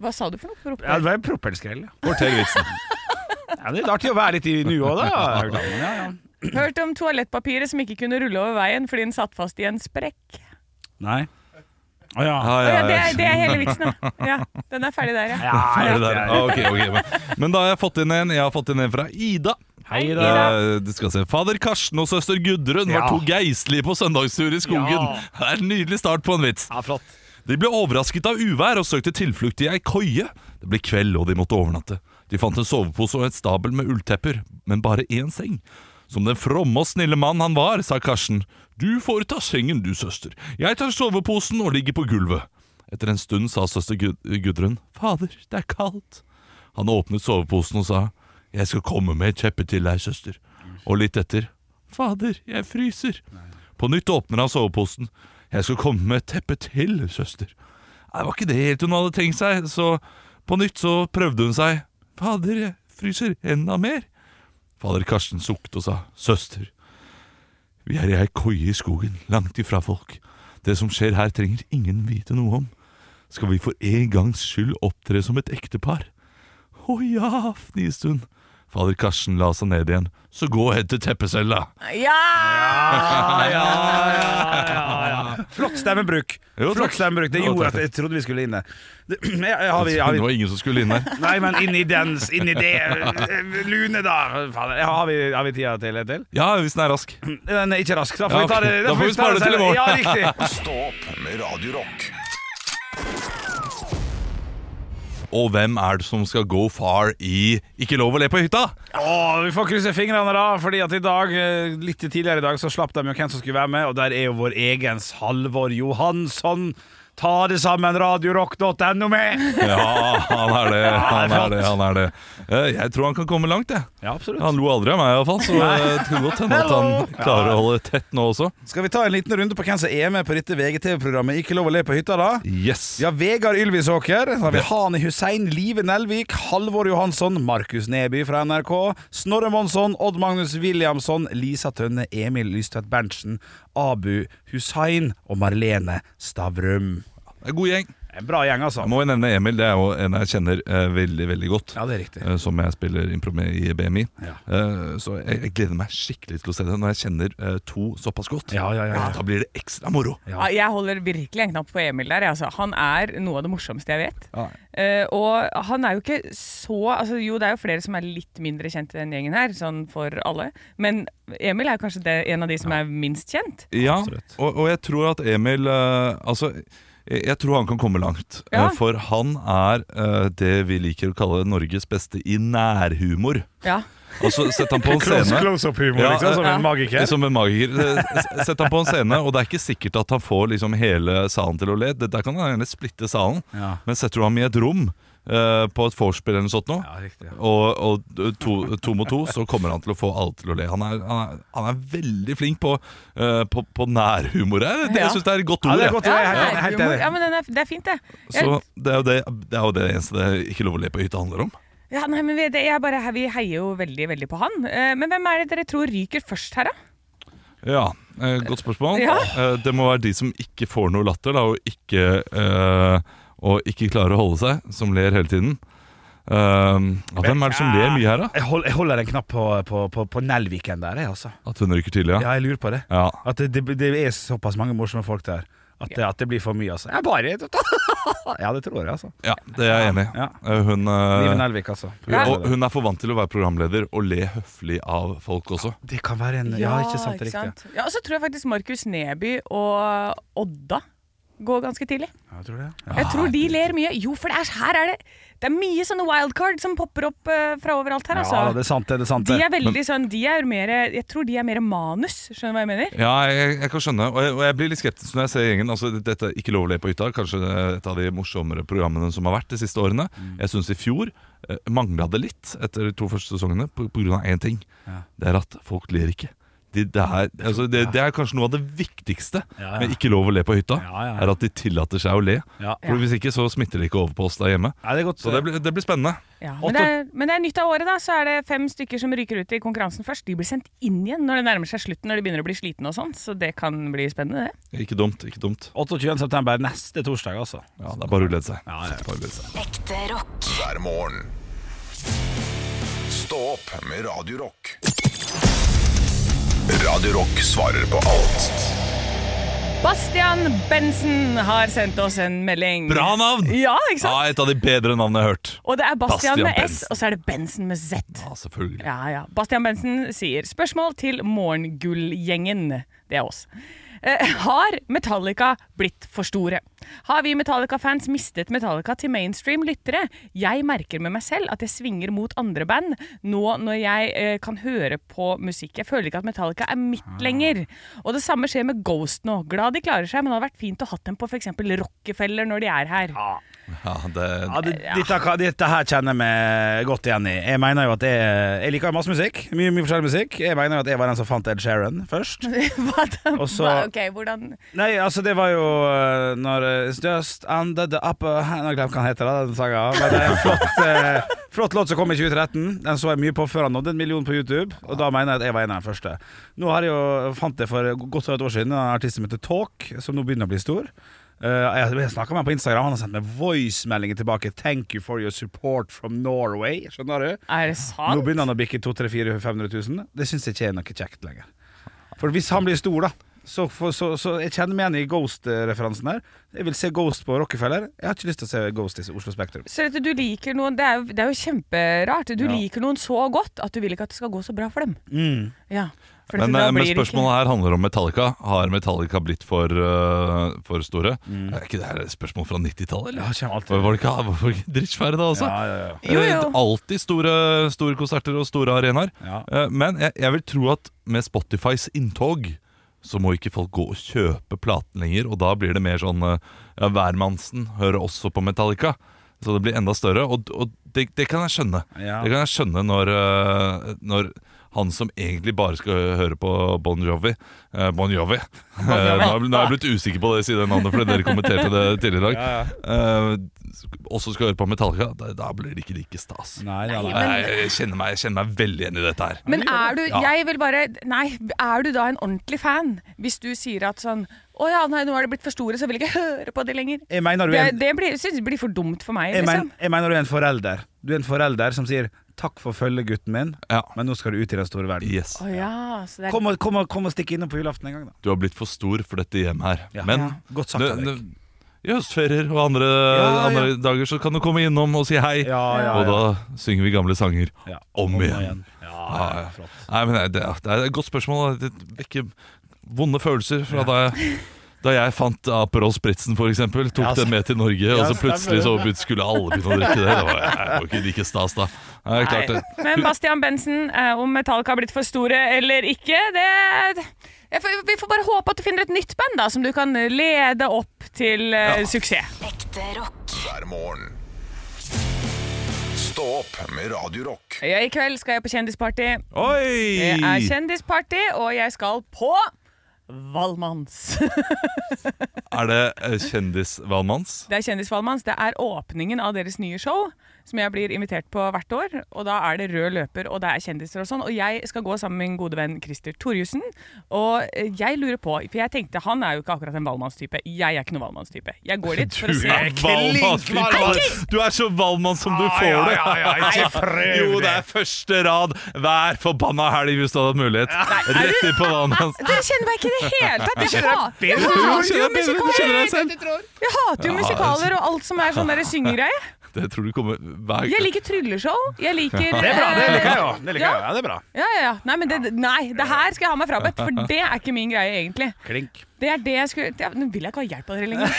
[SPEAKER 5] Hva sa du for noe?
[SPEAKER 3] ja det
[SPEAKER 5] Propel?
[SPEAKER 3] var propelskrell, ja.
[SPEAKER 4] Fortell vitsen.
[SPEAKER 3] Ja, det er litt artig å være litt i nu òg, da. Ja, ja.
[SPEAKER 5] Hørt om toalettpapiret som ikke kunne rulle over veien fordi den satt fast i en sprekk.
[SPEAKER 3] Nei. Å ja.
[SPEAKER 5] Å ja, det, er, det er hele vitsen, da. Ja, den er ferdig der, ja.
[SPEAKER 4] Ferdig der. Ah, ok, ok, men- Men da har jeg fått inn en Jeg har fått inn en fra Ida. Hei,
[SPEAKER 5] Ida.
[SPEAKER 4] Du skal se. Fader Karsten og søster Gudrun var
[SPEAKER 11] Ja.
[SPEAKER 4] to geistlige på søndagstur i skogen.
[SPEAKER 11] Ja.
[SPEAKER 4] Det er en nydelig start på en vits. De ble overrasket av uvær og søkte tilflukt i ei koie. Det ble kveld, og de måtte overnatte. De fant en sovepose og et stabel med ulltepper, men bare én seng. Som den fromme og snille mann han var, sa Karsten. Du får ta sengen, du, søster. Jeg tar soveposen og ligger på gulvet. Etter en stund sa søster Gud Gudrun. Fader, det er kaldt. Han åpnet soveposen og sa Jeg skal komme med et teppe til deg, søster Og litt etter Fader, jeg fryser På nytt åpner han soveposen Jeg skal komme med et teppe til, søster Nei, Det var ikke det helt hun hadde tenkt seg Så på nytt så prøvde hun seg Fader, jeg fryser enda mer Fader Karsten sukket og sa Søster, vi er i ei koie i skogen, langt ifra folk. Det som skjer her, trenger ingen vite noe om. Skal vi for en gangs skyld opptre som et ektepar? Å ja, fniste hun. Fader Karsten la seg ned igjen. Så gå og hent et teppe selv, da.
[SPEAKER 5] Ja!
[SPEAKER 3] Flott stemmebruk.
[SPEAKER 4] Jo,
[SPEAKER 3] Flott
[SPEAKER 4] takk.
[SPEAKER 3] stemmebruk. Det
[SPEAKER 4] Jo,
[SPEAKER 3] gjorde
[SPEAKER 4] takk,
[SPEAKER 3] at jeg trodde vi skulle inn der. Det- Jeg- har vi-
[SPEAKER 4] Det
[SPEAKER 3] har vi-
[SPEAKER 4] var ingen som skulle inn der.
[SPEAKER 3] Nei, men inn i den, inn i det eh, lune, da. Fader, Har vi, har vi tida til en til?
[SPEAKER 4] Ja, hvis den er rask.
[SPEAKER 3] Den er ikke rask. Da får
[SPEAKER 4] Ja,
[SPEAKER 3] vi ta
[SPEAKER 4] ok.
[SPEAKER 3] det
[SPEAKER 4] Da får vi spare det til i morgen.
[SPEAKER 3] Ja, riktig.
[SPEAKER 1] Stå opp med Radio Rock.
[SPEAKER 4] Og hvem er det som skal go far i Ikke lov å le på hytta?
[SPEAKER 3] Åh, vi får krysse fingrene, da. Fordi at i dag, eh, litt tidligere i dag så slapp de jo hvem som skulle være med, og der er jo vår egen Halvor Johansson. Ta det sammen, radiorock.no med!
[SPEAKER 4] Ja, han er det. Han
[SPEAKER 3] det er
[SPEAKER 4] er det, han er det. Eh, Jeg tror han kan komme langt, jeg.
[SPEAKER 3] Ja, absolutt.
[SPEAKER 4] Han lo aldri av meg, iallfall, så det kan godt hende at han klarer å holde tett nå også.
[SPEAKER 3] Skal vi ta en liten runde på hvem som er med på dette VGTV-programmet Ikke lov å le på hytta, da?
[SPEAKER 4] Yes.
[SPEAKER 3] Vi har Vegard Ylvisåker, så har vi Hani Hussein, Live Nelvik, Halvor Johansson, Markus Neby fra NRK, Snorre Monsson, Odd Magnus Williamson, Lisa Tønne, Emil Lystvedt Berntsen, Abu Hussein og Marlene Stavrum.
[SPEAKER 4] En god gjeng.
[SPEAKER 3] En bra gjeng, altså.
[SPEAKER 4] Jeg må jo nevne Emil, det er jo en jeg kjenner eh, veldig veldig godt.
[SPEAKER 3] Ja, det er riktig
[SPEAKER 4] eh, Som jeg spiller impro med i BMI.
[SPEAKER 3] Ja.
[SPEAKER 4] Eh, så jeg, jeg gleder meg skikkelig til å se det når jeg kjenner eh, to såpass godt.
[SPEAKER 3] Ja, ja, ja, ja.
[SPEAKER 4] Da blir det ekstra moro.
[SPEAKER 5] Ja, Jeg holder virkelig en knapp på Emil der. jeg, Altså. Han er noe av det morsomste jeg vet.
[SPEAKER 4] Ja.
[SPEAKER 5] Eh, og han er jo ikke så altså, Jo, det er jo flere som er litt mindre kjent i den gjengen her, sånn for alle. Men Emil er kanskje det, en av de som er minst kjent.
[SPEAKER 4] Ja, og, og jeg tror at Emil eh, Altså, jeg, jeg tror han kan komme langt.
[SPEAKER 5] Ja.
[SPEAKER 4] Eh, for han er eh, det vi liker å kalle Norges beste i nærhumor.
[SPEAKER 5] Ja.
[SPEAKER 4] Altså, sett han
[SPEAKER 3] (laughs)
[SPEAKER 4] på en
[SPEAKER 3] Close-
[SPEAKER 4] scene
[SPEAKER 3] close-up-humor, liksom, som en
[SPEAKER 4] eh,
[SPEAKER 3] magiker.
[SPEAKER 4] Som en magiker Eh, s- Sett han på en scene, og det er ikke sikkert at han får liksom hele salen til å le. Det- Der kan han gjerne splitte salen,
[SPEAKER 3] Ja.
[SPEAKER 4] men setter du ham i et rom eh, på et vorspiel eller noe sånt nå, og, og to, to mot to, så kommer han til å få alle til å le. Han er, han er, han er veldig flink på, eh, på, på nærhumor. Jeg, det,
[SPEAKER 5] Ja.
[SPEAKER 4] jeg syns det er et godt
[SPEAKER 3] Ja,
[SPEAKER 4] ord.
[SPEAKER 3] det er
[SPEAKER 4] jeg.
[SPEAKER 3] godt ord, jeg er helt-
[SPEAKER 5] Nei,
[SPEAKER 3] helt
[SPEAKER 5] humor.
[SPEAKER 3] enig.
[SPEAKER 5] ja men den er, det er fint, det. Jeg,
[SPEAKER 4] Så det er, jo det, det er jo det eneste det ikke lov å le på hytta handler om.
[SPEAKER 5] ja, nei, men vi, det, jeg bare, vi heier jo veldig, veldig på han. Eh, men hvem er det dere tror ryker først her, da?
[SPEAKER 4] Ja, eh, Godt spørsmål.
[SPEAKER 5] Ja.
[SPEAKER 4] Eh, det må være de som ikke får noe latter, da, og ikke, eh, og ikke klarer å holde seg, som ler hele tiden. Eh, ja, hvem er det som ler mye her, da?
[SPEAKER 3] Jeg, hold, jeg holder en knapp på, på, på, på Nelviken der, jeg, altså.
[SPEAKER 4] At hun ryker tidlig,
[SPEAKER 3] Ja, jeg lurer på det.
[SPEAKER 4] Ja.
[SPEAKER 3] At det, det, det er såpass mange morsomme folk der at, det- at det blir for mye, altså. Jeg bare (laughs) Ja, det tror jeg, altså.
[SPEAKER 4] Ja, det er jeg enig i.
[SPEAKER 3] Ja.
[SPEAKER 4] Eh, Hun, eh,
[SPEAKER 3] Live Nelvik, altså.
[SPEAKER 4] hun- og hun er for vant til å være programleder og le høflig av folk også.
[SPEAKER 3] Det kan være en Ja, ikke sant, det er riktig.
[SPEAKER 5] sant? Ja, og så tror jeg faktisk Markus Neby og Odda går ganske tidlig.
[SPEAKER 3] Ja, jeg tror Ah, det.
[SPEAKER 5] Jeg tror de ler mye. Jo, for det er, her er det Det er mye sånne wildcard som popper opp eh, fra overalt her, altså.
[SPEAKER 3] Ja, det er sant, det. det er sant
[SPEAKER 5] de
[SPEAKER 3] det.
[SPEAKER 5] er veldig sånn De er mer Jeg tror de er mer manus, skjønner du hva jeg mener?
[SPEAKER 4] Ja, jeg, jeg kan skjønne, og jeg, og jeg blir litt skeptisk når jeg ser gjengen. Altså, dette er Ikke lov å le på hytta, kanskje et av de morsommere programmene som har vært de siste årene.
[SPEAKER 3] Mm.
[SPEAKER 4] Jeg syns i fjor eh, mangla det litt etter de to første sesongene på, på grunn av én ting. Det er at folk ler ikke. De, det, er, altså, det, det er kanskje noe av det viktigste
[SPEAKER 3] Ja, ja.
[SPEAKER 4] med Ikke lov å le på hytta.
[SPEAKER 3] Ja, ja, ja.
[SPEAKER 4] Er at de tillater seg å le.
[SPEAKER 3] Ja.
[SPEAKER 4] For Hvis ikke så smitter det ikke over på oss der hjemme.
[SPEAKER 3] Ja, det er godt.
[SPEAKER 4] Så det blir, det blir spennende.
[SPEAKER 5] Ja, men, det er, men det er nytt av året, da. Så er det fem stykker som ryker ut i konkurransen først. De blir sendt inn igjen når det nærmer seg slutten, når de begynner å bli slitne og sånn. Så det kan bli spennende, det.
[SPEAKER 4] Ikke dumt. ikke dumt
[SPEAKER 3] 28. september, neste torsdag, altså.
[SPEAKER 4] Ja, Det er bare å glede seg.
[SPEAKER 3] Ja, ja.
[SPEAKER 4] Bare å glede seg.
[SPEAKER 1] Ekte rock. Hver morgen. Stå opp med Radio Rock. Radio Rock svarer på alt.
[SPEAKER 5] Bastian Bensen har sendt oss en melding.
[SPEAKER 4] Bra navn!
[SPEAKER 5] Ja, ikke sant?
[SPEAKER 4] Ja, et av de bedre navnene jeg har hørt.
[SPEAKER 5] Og det er Bastian,
[SPEAKER 4] Bastian
[SPEAKER 5] med S,
[SPEAKER 4] Bensen.
[SPEAKER 5] og så er det Bensen med Z.
[SPEAKER 4] Ja, selvfølgelig.
[SPEAKER 5] Ja, ja. Bastian Bensen sier spørsmål til Morgengullgjengen. Det er oss. Eh, har Metallica blitt for store? Har vi Metallica-fans mistet Metallica til mainstream lyttere? Jeg merker med meg selv at jeg svinger mot andre band nå når jeg eh, kan høre på musikk. Jeg føler ikke at Metallica er mitt lenger. Og det samme skjer med Ghost nå. Glad de klarer seg, men det hadde vært fint å hatt dem på f.eks. Rockefeller når de er her.
[SPEAKER 4] Ja, det,
[SPEAKER 3] Ja, det, dette, kan- dette her kjenner jeg meg godt igjen i. Jeg mener jo at jeg, jeg liker jo masse musikk. Mye, mye forskjellig musikk. Jeg mener jo at jeg var den som fant Ed Sheeran først.
[SPEAKER 5] (laughs) Hva da?
[SPEAKER 3] Og så-
[SPEAKER 5] Hva- ok, hvordan
[SPEAKER 3] Nei, altså, det var jo eh, når eh, It's Just Under the Upper hand Jeg glemte hva den heter, da, den sangen. Men det er en flott, eh, flott låt som kom i 2013. Den så jeg mye på før han nådde en million på YouTube, og da mener jeg at jeg var en av de første. Nå har jeg jo, fant jeg for godt over et år siden en artist som heter Talk, som nå begynner å bli stor. Eh, jeg jeg snakka med ham på Instagram, han har sendt meg voicemeldinger tilbake. 'Thank you for your support from Norway'. Skjønner du?
[SPEAKER 5] Er det sant?
[SPEAKER 3] Nå begynner han å bikke 200 400 500 000. Det syns jeg ikke er noe kjekt lenger. For hvis han blir stor, da, så, for, så, så jeg kjenner meg igjen i Ghost-referansen her. Jeg vil se Ghost på Rockefeller. Jeg har ikke lyst til å se Ghost i Oslo Spektrum.
[SPEAKER 5] Så dette, du liker noen, det er, jo- det er jo kjemperart. Du
[SPEAKER 3] Ja.
[SPEAKER 5] liker noen så godt at du vil ikke at det skal gå så bra for dem. Ja, for dette,
[SPEAKER 4] Men,
[SPEAKER 5] da
[SPEAKER 4] eh, men
[SPEAKER 5] blir det ikke-
[SPEAKER 4] spørsmålet her handler om Metallica. Har Metallica blitt for, eh, for store?
[SPEAKER 5] Mm.
[SPEAKER 4] Er ikke det her et spørsmål fra 90-tallet? eller? Var det ikke, var det ikke drittsvære da også?
[SPEAKER 3] Ja, ja,
[SPEAKER 5] ja. Jo, jo.
[SPEAKER 4] Eh, Alltid store, store konserter og store arenaer. Eh, Men jeg, jeg vil tro at med Spotifys inntog så må ikke folk gå og kjøpe platen lenger, og da blir det mer sånn eh, ja, Hvermannsen hører også på Metallica. Så det blir enda større, og, og det, det kan jeg skjønne.
[SPEAKER 3] Ja.
[SPEAKER 4] Det kan jeg skjønne når, eh, når han som egentlig bare skal høre på Bon Jovi eh, Bon Jovi! Eh, Nå har jeg bl- nå har jeg blitt usikker på det siden navnet, fordi dere kommenterte det tidligere i dag. Eh, også skal høre på Metallica. Da, da blir det ikke like stas.
[SPEAKER 3] Nei, nei,
[SPEAKER 5] nei. Nei,
[SPEAKER 4] Jeg, jeg, kjenner meg, jeg kjenner meg veldig igjen i dette her.
[SPEAKER 5] Men er du,
[SPEAKER 4] Ja.
[SPEAKER 5] jeg vil bare Nei, er du da en ordentlig fan hvis du sier at sånn Å ja, nei, nå er det blitt for store, så vil jeg ikke høre på det lenger.
[SPEAKER 3] Jeg mener du
[SPEAKER 5] Det,
[SPEAKER 3] er en,
[SPEAKER 5] det blir, synes jeg blir for dumt for meg,
[SPEAKER 3] jeg men,
[SPEAKER 5] liksom.
[SPEAKER 3] jeg mener du er en forelder. Du er en forelder som sier 'takk for følget, gutten min', men nå skal du ut i den store verden.
[SPEAKER 4] Yes.
[SPEAKER 5] Å ja, så det er
[SPEAKER 3] Kom og, kom, og, kom og stikk innom på julaften en gang, da.
[SPEAKER 4] Du har blitt for stor for dette hjemmet her.
[SPEAKER 3] Ja.
[SPEAKER 4] Men
[SPEAKER 3] Ja. Godt sagt av
[SPEAKER 4] Nå-
[SPEAKER 3] deg.
[SPEAKER 4] nå- i høstferier og andre,
[SPEAKER 3] Ja, ja.
[SPEAKER 4] andre dager så kan du komme innom og si hei.
[SPEAKER 3] ja,
[SPEAKER 4] og
[SPEAKER 3] ja.
[SPEAKER 4] da synger vi gamle sanger
[SPEAKER 3] Ja.
[SPEAKER 4] om,
[SPEAKER 3] Om
[SPEAKER 4] igjen.
[SPEAKER 3] igjen.
[SPEAKER 4] Ja, ja. Nei, men det, er- det er et godt spørsmål. da. Det vekker vonde følelser fra da jeg da jeg fant Aperol Spritzen, for eksempel, tok
[SPEAKER 3] Ja, så-
[SPEAKER 4] den med til Norge,
[SPEAKER 3] Ja,
[SPEAKER 4] og så
[SPEAKER 3] stemmer
[SPEAKER 4] plutselig
[SPEAKER 3] det.
[SPEAKER 4] så begynte- skulle alle begynne å drikke det. Det var, det var ikke like stas, da. Nei, klart det.
[SPEAKER 5] Nei, Men Bastian Bensen, eh, om Metallica har blitt for store eller ikke, det jeg får- vi får bare håpe at du finner et nytt band da, som du kan lede opp til eh, suksess.
[SPEAKER 1] Hver morgen. Stå opp med Radio Rock.
[SPEAKER 5] Ja, I kveld skal jeg på kjendisparty. Det
[SPEAKER 4] Oi!
[SPEAKER 5] er kjendisparty, og jeg skal på Valmanns. (laughs)
[SPEAKER 4] Er det eh, kjendisvalmanns?
[SPEAKER 5] Det er Kjendisvalmanns. Det er åpningen av deres nye show, som jeg blir invitert på hvert år. Og da er det rød løper, og det er kjendiser og sånn. Og jeg skal gå sammen med min gode venn Christer Torjussen. Og eh, jeg lurer på, for jeg tenkte han er jo ikke akkurat en valmannstype. Jeg er ikke noen valmannstype. Jeg går dit
[SPEAKER 4] Du
[SPEAKER 5] for å se.
[SPEAKER 4] er valmann! Du er så valmann som
[SPEAKER 3] Ah,
[SPEAKER 4] du får det! Jo, det er første rad hver forbanna helg hvis du hadde hatt mulighet. Rett inn på valmann.
[SPEAKER 5] Dere kjenner meg ikke i det hele tatt! Jeg, hater- jeg
[SPEAKER 4] bedre.
[SPEAKER 5] hater jo
[SPEAKER 4] Du kjenner deg bedre. Du kjenner deg selv.
[SPEAKER 5] musikaler! Jeg hater jo
[SPEAKER 4] Ja,
[SPEAKER 5] musikaler og alt som er sånn
[SPEAKER 4] (laughs)
[SPEAKER 5] derre syngegreie.
[SPEAKER 4] Det tror du kommer hver
[SPEAKER 5] Jeg liker trylleshow. Jeg liker
[SPEAKER 3] Det er bra, det
[SPEAKER 5] eh,
[SPEAKER 3] liker jeg òg. Det liker jeg
[SPEAKER 5] Ja.
[SPEAKER 3] også. Ja, det er bra.
[SPEAKER 5] Ja, ja, ja. Nei, men det, nei, det her skal jeg ha meg frabedt, for det er ikke min greie, egentlig.
[SPEAKER 3] Klink.
[SPEAKER 5] Det er det jeg skulle ja, Nå vil jeg ikke ha hjelp av dere lenger.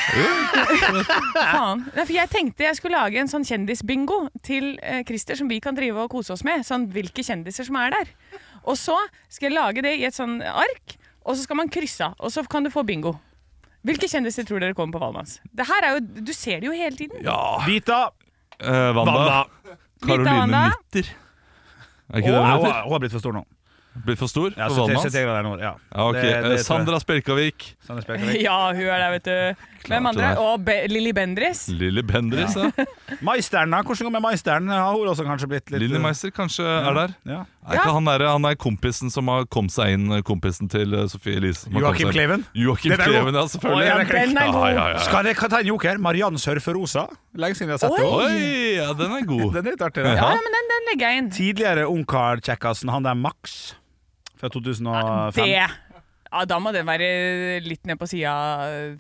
[SPEAKER 5] (laughs) Faen. Nei, for jeg tenkte jeg skulle lage en sånn kjendisbingo til eh, Christer som vi kan drive og kose oss med. Sånn hvilke kjendiser som er der. Og så skal jeg lage det i et sånn ark, og så skal man krysse av. Og så kan du få bingo. Hvilke kjendiser tror dere kommer på Valmanns? Det her er jo, Du ser det jo hele tiden.
[SPEAKER 4] Ja,
[SPEAKER 3] Vita.
[SPEAKER 4] eh, Wanda.
[SPEAKER 5] Vita
[SPEAKER 4] Caroline
[SPEAKER 5] Wanda.
[SPEAKER 4] Nitter. Er
[SPEAKER 3] Hun
[SPEAKER 4] ikke det hun heter?
[SPEAKER 3] hun har blitt for stor nå.
[SPEAKER 4] Blitt for stor
[SPEAKER 3] Ja,
[SPEAKER 4] for
[SPEAKER 3] så-
[SPEAKER 4] valmanns?
[SPEAKER 3] så- så- der nå, ja.
[SPEAKER 4] Ja, ok.
[SPEAKER 3] Det- det
[SPEAKER 4] Eh,
[SPEAKER 3] tror jeg.
[SPEAKER 4] Sandra Spjelkavik.
[SPEAKER 3] Sandra Spjelkavik.
[SPEAKER 5] Ja, hun er der, vet du. Hvem
[SPEAKER 4] Klart det
[SPEAKER 5] andre?
[SPEAKER 4] der.
[SPEAKER 5] Og Be Lilly Bendriss.
[SPEAKER 4] Lilly altså. Bendriss, ja.
[SPEAKER 3] Maisteren, da? Hvordan går det med maisteren? Har hun også kanskje blitt litt
[SPEAKER 4] Lilly Meister kanskje er der.
[SPEAKER 3] Ja.
[SPEAKER 4] Er ikke han, der, han er kompisen som har kommet seg inn, kompisen til eh, Sofie Elise. som har
[SPEAKER 3] Joakim
[SPEAKER 4] kommet seg inn.
[SPEAKER 3] Kleven?
[SPEAKER 4] Joakim
[SPEAKER 3] Den er god.
[SPEAKER 4] Kleven, ja, selvfølgelig.
[SPEAKER 3] Å, ja,
[SPEAKER 5] den er god.
[SPEAKER 4] Ja, ja, ja.
[SPEAKER 3] Skal jeg kan ta en joker? Mariann Surferosa. Lenge siden jeg har sett henne.
[SPEAKER 4] Oi, ja, den
[SPEAKER 3] (laughs)
[SPEAKER 4] er god.
[SPEAKER 3] Den er litt artig. den.
[SPEAKER 5] Ja, ja, men den, den legger jeg inn.
[SPEAKER 3] Tidligere ungkar-kjekkasen, han der Max Fra 2005.
[SPEAKER 5] Det ja, Da må den være litt ned på sida.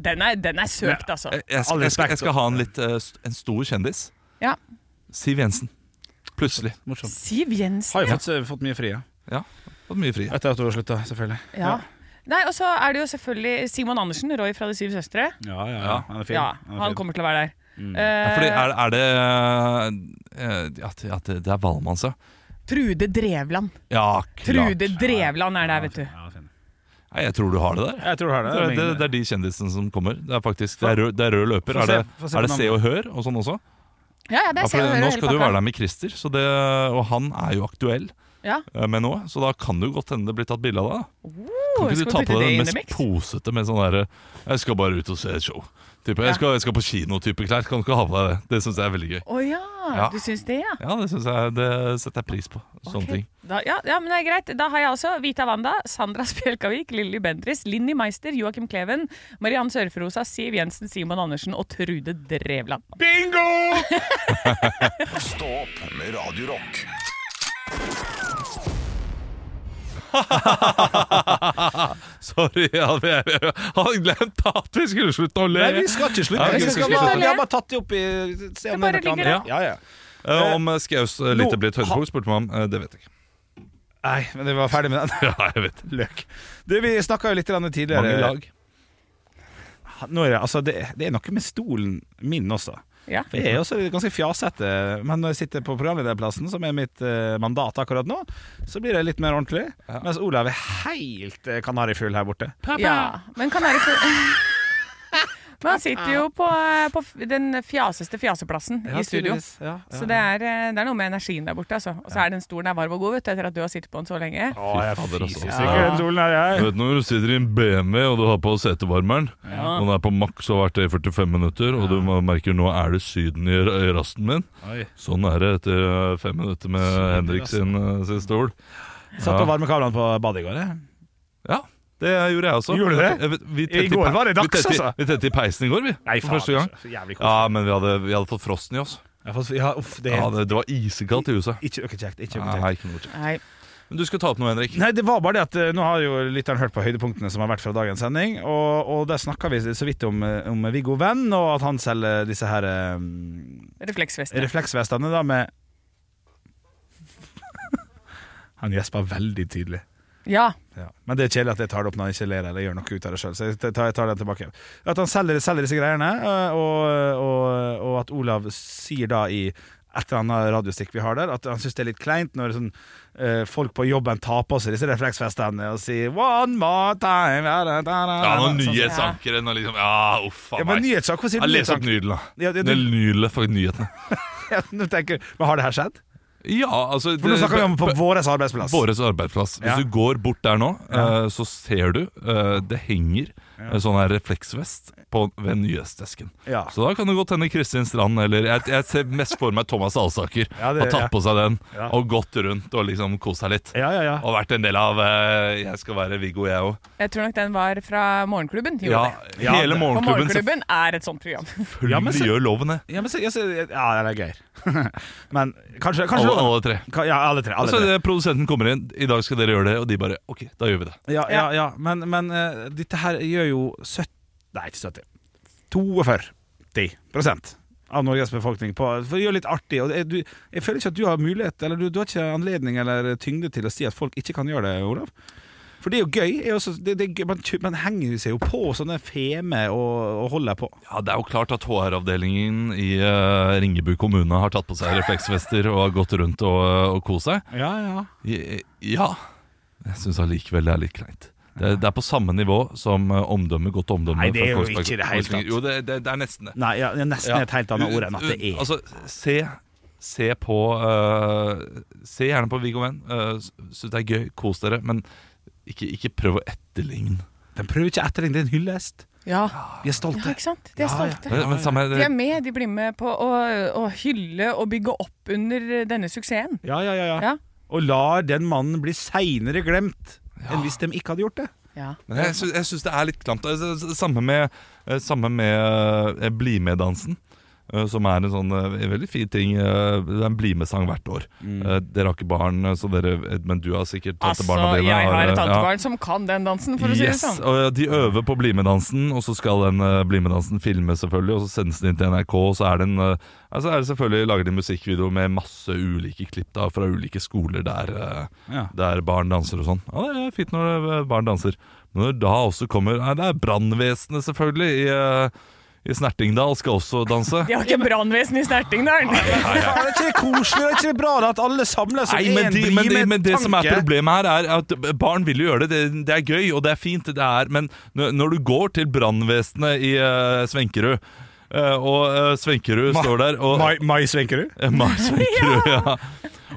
[SPEAKER 5] Den, er- den er søkt, altså.
[SPEAKER 4] Eh, Jeg, jeg, skal, jeg, skal, jeg skal ha en litt eh, st- En stor kjendis.
[SPEAKER 5] Ja.
[SPEAKER 4] Siv Jensen. Plutselig.
[SPEAKER 5] Siv Jensen.
[SPEAKER 3] Har jo fått, fått mye frie.
[SPEAKER 4] Ja, fått mye frie.
[SPEAKER 3] Etter at du har slutta, selvfølgelig.
[SPEAKER 5] Ja. Nei, Og så er det jo selvfølgelig Simon Andersen, Roy fra De syv søstre.
[SPEAKER 3] Ja, ja, ja. Han er fin.
[SPEAKER 5] Ja,
[SPEAKER 3] er
[SPEAKER 5] han
[SPEAKER 3] fin.
[SPEAKER 5] kommer til å være der.
[SPEAKER 3] Mm.
[SPEAKER 4] Ja, fordi
[SPEAKER 5] Eh,
[SPEAKER 4] er, er det eh, at, at det er Valmann, så?
[SPEAKER 5] Trude Drevland.
[SPEAKER 4] Ja, klart.
[SPEAKER 5] Trude Drevland er der, vet du.
[SPEAKER 4] Nei, jeg tror du har det der.
[SPEAKER 3] Jeg tror du har det.
[SPEAKER 4] Det er, det, det er de kjendisene som kommer. Det er faktisk, det er rød, det er rød løper.
[SPEAKER 3] Få
[SPEAKER 4] Er
[SPEAKER 3] se-
[SPEAKER 4] det,
[SPEAKER 3] få se
[SPEAKER 4] er det
[SPEAKER 3] på
[SPEAKER 4] Se og
[SPEAKER 3] navnet.
[SPEAKER 4] Hør og sånn også?
[SPEAKER 5] Ja, ja, det er
[SPEAKER 4] Ja, for
[SPEAKER 5] Seo Hører
[SPEAKER 4] nå
[SPEAKER 5] hele
[SPEAKER 4] skal du jo
[SPEAKER 5] pakka.
[SPEAKER 4] være der med Christer, så det, og han er jo aktuell
[SPEAKER 5] Ja. Oh,
[SPEAKER 4] eh, med nå. Så da kan det jo godt hende det blir tatt bilde av deg. da. Kan
[SPEAKER 5] skal
[SPEAKER 4] ikke
[SPEAKER 5] vi
[SPEAKER 4] du ta
[SPEAKER 5] putte
[SPEAKER 4] på
[SPEAKER 5] det
[SPEAKER 4] deg
[SPEAKER 5] inn i
[SPEAKER 4] den mest
[SPEAKER 5] mix?
[SPEAKER 4] posete med sånn derre 'jeg skal bare ut og se et show'? Type,
[SPEAKER 5] Ja.
[SPEAKER 4] jeg, skal, 'Jeg skal på kino'-type klær. Kan du ikke ha på deg det? Det syns jeg er veldig gøy.
[SPEAKER 5] Å ja,
[SPEAKER 4] Ja.
[SPEAKER 5] du syns det, ja.
[SPEAKER 4] Ja, det, synes jeg, det setter jeg pris på. Sånne ting.
[SPEAKER 5] Da, ja, ja, men det er greit. Da har jeg altså Vita Wanda, Sandra (laughs) Spjelkavik, Lilly Bendriss, Linni Meister, Joakim Kleven, Mariann Sørfrosa, Siv Jensen, Simon Andersen og Trude Drevland.
[SPEAKER 3] Bingo!
[SPEAKER 1] Stå opp med Radio Rock.
[SPEAKER 4] Sorry, jeg hadde, jeg hadde glemt at vi skulle slutte å le.
[SPEAKER 3] Nei, vi skal ikke slutte.
[SPEAKER 4] Ja, ok,
[SPEAKER 3] eh, vi
[SPEAKER 4] vi
[SPEAKER 3] skal
[SPEAKER 4] skal
[SPEAKER 3] bare,
[SPEAKER 5] slutte.
[SPEAKER 3] vi har bare tatt det opp i eh, se
[SPEAKER 5] Det
[SPEAKER 3] om
[SPEAKER 5] bare
[SPEAKER 3] det er noe
[SPEAKER 5] ligger der.
[SPEAKER 3] annet. Ja, ja.
[SPEAKER 4] Eh, om eh, Skaus eh, lite
[SPEAKER 3] Nå-
[SPEAKER 4] blir et høydepunkt, spurte man om. Eh, det vet jeg ikke.
[SPEAKER 3] Nei, men vi var ferdig med den. (laughs)
[SPEAKER 4] Ja, jeg vet det.
[SPEAKER 3] Løk. Du, vi snakka jo litt grann tidligere
[SPEAKER 4] Mange lag.
[SPEAKER 3] Nå er det, altså, det, det er noe med stolen min også.
[SPEAKER 5] Ja.
[SPEAKER 3] For jeg er også ganske fjasete, men når jeg sitter på programlederplassen, som er mitt eh, mandat akkurat nå, så blir jeg litt mer ordentlig. Mens Olav er helt eh, kanarifugl her borte.
[SPEAKER 5] ja. Men kan være Men han sitter jo på, eh, på f- den fjaseste fjaseplassen i studio.
[SPEAKER 3] tydeligvis. Ja, ja,
[SPEAKER 5] Så det er, eh, det er noe med energien der borte, altså. Og så er den stolen her varm og god, vet du, etter at du har sittet på den så lenge.
[SPEAKER 3] Å, jeg er
[SPEAKER 4] fader, altså.
[SPEAKER 3] fysisk sikker i den stolen her,
[SPEAKER 4] Du
[SPEAKER 3] jeg.
[SPEAKER 4] vet når du sitter i en BMW og du har på setevarmeren, og den er på maks og har vært det i 45 minutter, og du merker nå er det Syden i ra- i rasten min.
[SPEAKER 3] Oi.
[SPEAKER 4] Sånn er det etter eh, fem minutter med Henrik sin, eh, sin stol.
[SPEAKER 3] Satt på varmekablene på badet i går, jeg.
[SPEAKER 4] Ja, det gjorde jeg også.
[SPEAKER 3] Gjorde du det?
[SPEAKER 4] Jeg vet- Vi tente
[SPEAKER 3] I går
[SPEAKER 4] pe-
[SPEAKER 3] var det
[SPEAKER 4] vi
[SPEAKER 3] dags,
[SPEAKER 4] tente i-
[SPEAKER 3] altså.
[SPEAKER 4] Vi tente i peisen i går, vi.
[SPEAKER 3] Nei,
[SPEAKER 4] for
[SPEAKER 3] faen, altså.
[SPEAKER 4] første gang.
[SPEAKER 3] så jævlig koselig.
[SPEAKER 4] Ja, men vi hadde, vi hadde fått frosten i oss.
[SPEAKER 3] Jeg får- Ja, uff, det er
[SPEAKER 4] Ja, det, det var iskaldt i huset.
[SPEAKER 3] Ikke noe kjekt. Ikke noe kjekt.
[SPEAKER 4] Nei, ikke noe kjekt.
[SPEAKER 5] Nei.
[SPEAKER 4] Men du skal ta opp noe, Henrik.
[SPEAKER 3] Nei, det var bare det at eh, nå har jo lytteren hørt på høydepunktene som har vært fra dagens sending, og, og der snakka vi så vidt om, eh, om Viggo Venn, og at han selger disse her eh,
[SPEAKER 5] Refleksvest.
[SPEAKER 3] refleksvestene da med (laughs) Han gjespa veldig tydelig.
[SPEAKER 5] Ja.
[SPEAKER 3] Ja. Men det er kjedelig at jeg tar det opp når jeg ikke ler eller gjør noe ut av det sjøl. Så jeg tar, jeg tar det tilbake. At han selger, selger disse greiene, øh, og, og, og at Olav sier da i et eller annet radiostikk vi har der, at han syns det er litt kleint når sånn, øh, folk på jobben tar på seg disse refleksvestene og sier One more time da, da, da, da,
[SPEAKER 4] Ja, noen
[SPEAKER 3] sånn, sånn.
[SPEAKER 4] nyhetsankere og liksom Ja, uff a
[SPEAKER 3] Ja, men
[SPEAKER 4] meg.
[SPEAKER 3] nyhetssak, hvorfor sier
[SPEAKER 4] Jeg
[SPEAKER 3] du
[SPEAKER 4] leser opp
[SPEAKER 3] nyhetssak?
[SPEAKER 4] nydelen, da.
[SPEAKER 3] Ja, det-
[SPEAKER 4] Det
[SPEAKER 3] (laughs)
[SPEAKER 4] er nydelig for nyhetene.
[SPEAKER 3] Nå tenker jeg, Men har det her skjedd?
[SPEAKER 4] Ja, altså
[SPEAKER 3] For nå
[SPEAKER 4] det-
[SPEAKER 3] snakker vi om på
[SPEAKER 4] på-
[SPEAKER 3] vår arbeidsplass.
[SPEAKER 4] Våres arbeidsplass. Hvis
[SPEAKER 3] Ja.
[SPEAKER 4] du går bort der nå, eh, så ser du eh, det henger eh, sånn her refleksvest på, ved nyhetsdesken.
[SPEAKER 3] Ja.
[SPEAKER 4] Så da kan det godt hende Kristin Strand eller jeg, jeg ser mest for meg Thomas Alsaker
[SPEAKER 3] (laughs) Ja, det-
[SPEAKER 4] har tatt på seg den
[SPEAKER 3] Ja.
[SPEAKER 4] og gått rundt og liksom kost seg litt.
[SPEAKER 3] Ja, ja, ja.
[SPEAKER 4] Og vært en del av eh, 'Jeg skal være Viggo, jeg òg'.
[SPEAKER 5] Jeg tror nok den var fra Morgenklubben. gjorde
[SPEAKER 4] Ja,
[SPEAKER 5] det.
[SPEAKER 3] Ja,
[SPEAKER 4] hele
[SPEAKER 3] det-
[SPEAKER 5] Og
[SPEAKER 4] morgenklubben
[SPEAKER 5] Morgenklubben er et sånt program.
[SPEAKER 4] selvfølgelig
[SPEAKER 3] Ja, men så-
[SPEAKER 4] gjør loven det.
[SPEAKER 3] Ja, men så, ja, så, ja, det er gøy. (laughs) men kanskje, kanskje
[SPEAKER 4] Alle, alle tre.
[SPEAKER 3] Ka- Ja, alle tre. Alle
[SPEAKER 4] Altså,
[SPEAKER 3] tre.
[SPEAKER 4] det, produsenten kommer inn, i dag skal dere gjøre det, og de bare OK, da gjør vi det.
[SPEAKER 3] Ja, ja, ja. Men, men eh, dette her gjør jo 70 Nei, ikke 70. 42 prosent av Norges befolkning på For det gjør litt artig. Og det, er- du, jeg føler ikke at du har mulighet, eller du, du har ikke anledning eller tyngde til å si at folk ikke kan gjøre det, Olav. For det er jo gøy. Jeg er også, det, det er gøy. Man, kjø- man henger seg jo på sånne feme og, og holder på.
[SPEAKER 4] Ja, Det er jo klart at HR-avdelingen i eh, Ringebu kommune har tatt på seg refleksvester og har gått rundt og, eh, og kost seg.
[SPEAKER 3] Ja, ja.
[SPEAKER 4] I- Ja. Jeg syns allikevel det er litt kleint. Det, det er på samme nivå som eh, omdømme, godt omdømme.
[SPEAKER 3] Nei, det er
[SPEAKER 4] fra
[SPEAKER 3] jo
[SPEAKER 4] Kongsberg-
[SPEAKER 3] ikke i det hele tatt.
[SPEAKER 4] Jo, det, det, det er nesten det.
[SPEAKER 3] Nei, ja, det er nesten
[SPEAKER 4] Ja.
[SPEAKER 3] et helt annet ord enn at det er.
[SPEAKER 4] Altså, se, se på eh, Se gjerne på Viggo Venn. Uh, Syns det er gøy, kos dere. Men ikke, ikke prøv å etterligne.
[SPEAKER 3] Den prøver ikke etterligning, det er en hyllest.
[SPEAKER 5] (laughs) Ja,
[SPEAKER 3] Vi er stolte.
[SPEAKER 5] ja ikke sant? De er
[SPEAKER 3] Ja, ja.
[SPEAKER 5] stolte.
[SPEAKER 4] Men, men samme,
[SPEAKER 5] De er med, de blir med på å, å hylle og bygge opp under eh, denne suksessen.
[SPEAKER 3] Ja, ja, ja, ja.
[SPEAKER 5] Ja.
[SPEAKER 3] Og lar den mannen bli seinere glemt enn hvis de ikke hadde gjort det.
[SPEAKER 5] Ja.
[SPEAKER 4] Men jeg, sy jeg syns det er litt klamt. Altså, s- Samme med, eh, samme med eh, Bli med-dansen. eh, som er en sånn eh, en veldig fin ting. eh, Det er en BlimE-sang hvert år.
[SPEAKER 5] Mm.
[SPEAKER 4] Eh, Dere har ikke barn, eh, så dere, men du har sikkert tantebarna
[SPEAKER 5] altså,
[SPEAKER 4] dine.
[SPEAKER 5] jeg har
[SPEAKER 4] eh,
[SPEAKER 5] et
[SPEAKER 4] ja.
[SPEAKER 5] tantebarn som kan den dansen, for å si det
[SPEAKER 4] Yes,
[SPEAKER 5] sånn.
[SPEAKER 4] og De øver på BlimE-dansen, og så skal den uh, BlimE-dansen filmes, selvfølgelig. Og så sendes den inn til NRK, og så er den eh, altså er det selvfølgelig lager de musikkvideo med masse ulike klipp da fra ulike skoler der, eh,
[SPEAKER 3] Ja.
[SPEAKER 4] der barn danser og sånn. Ja, det er fint når eh, barn danser. Men når da også kommer Nei, det er brannvesenet, selvfølgelig, i, eh, i Snertingdal skal også danse.
[SPEAKER 5] De har ikke brannvesen i Snertingdalen!
[SPEAKER 3] Er det ikke koselig? Er det ikke bra da, at alle samles om
[SPEAKER 4] Nei, men,
[SPEAKER 3] én
[SPEAKER 4] de, men, de, men det som er
[SPEAKER 3] BlimE-tanke?
[SPEAKER 4] problemet her, er at barn vil jo gjøre det. Det, det er gøy, og det er fint, det er, men når når du går til brannvesenet i eh, Svenkerud eh, og eh, Svenkerud
[SPEAKER 3] Ma-
[SPEAKER 4] står der og,
[SPEAKER 3] Mai- Mai Svenkerud?
[SPEAKER 4] Eh,
[SPEAKER 3] (laughs)
[SPEAKER 4] Mai Svenkerud, ja.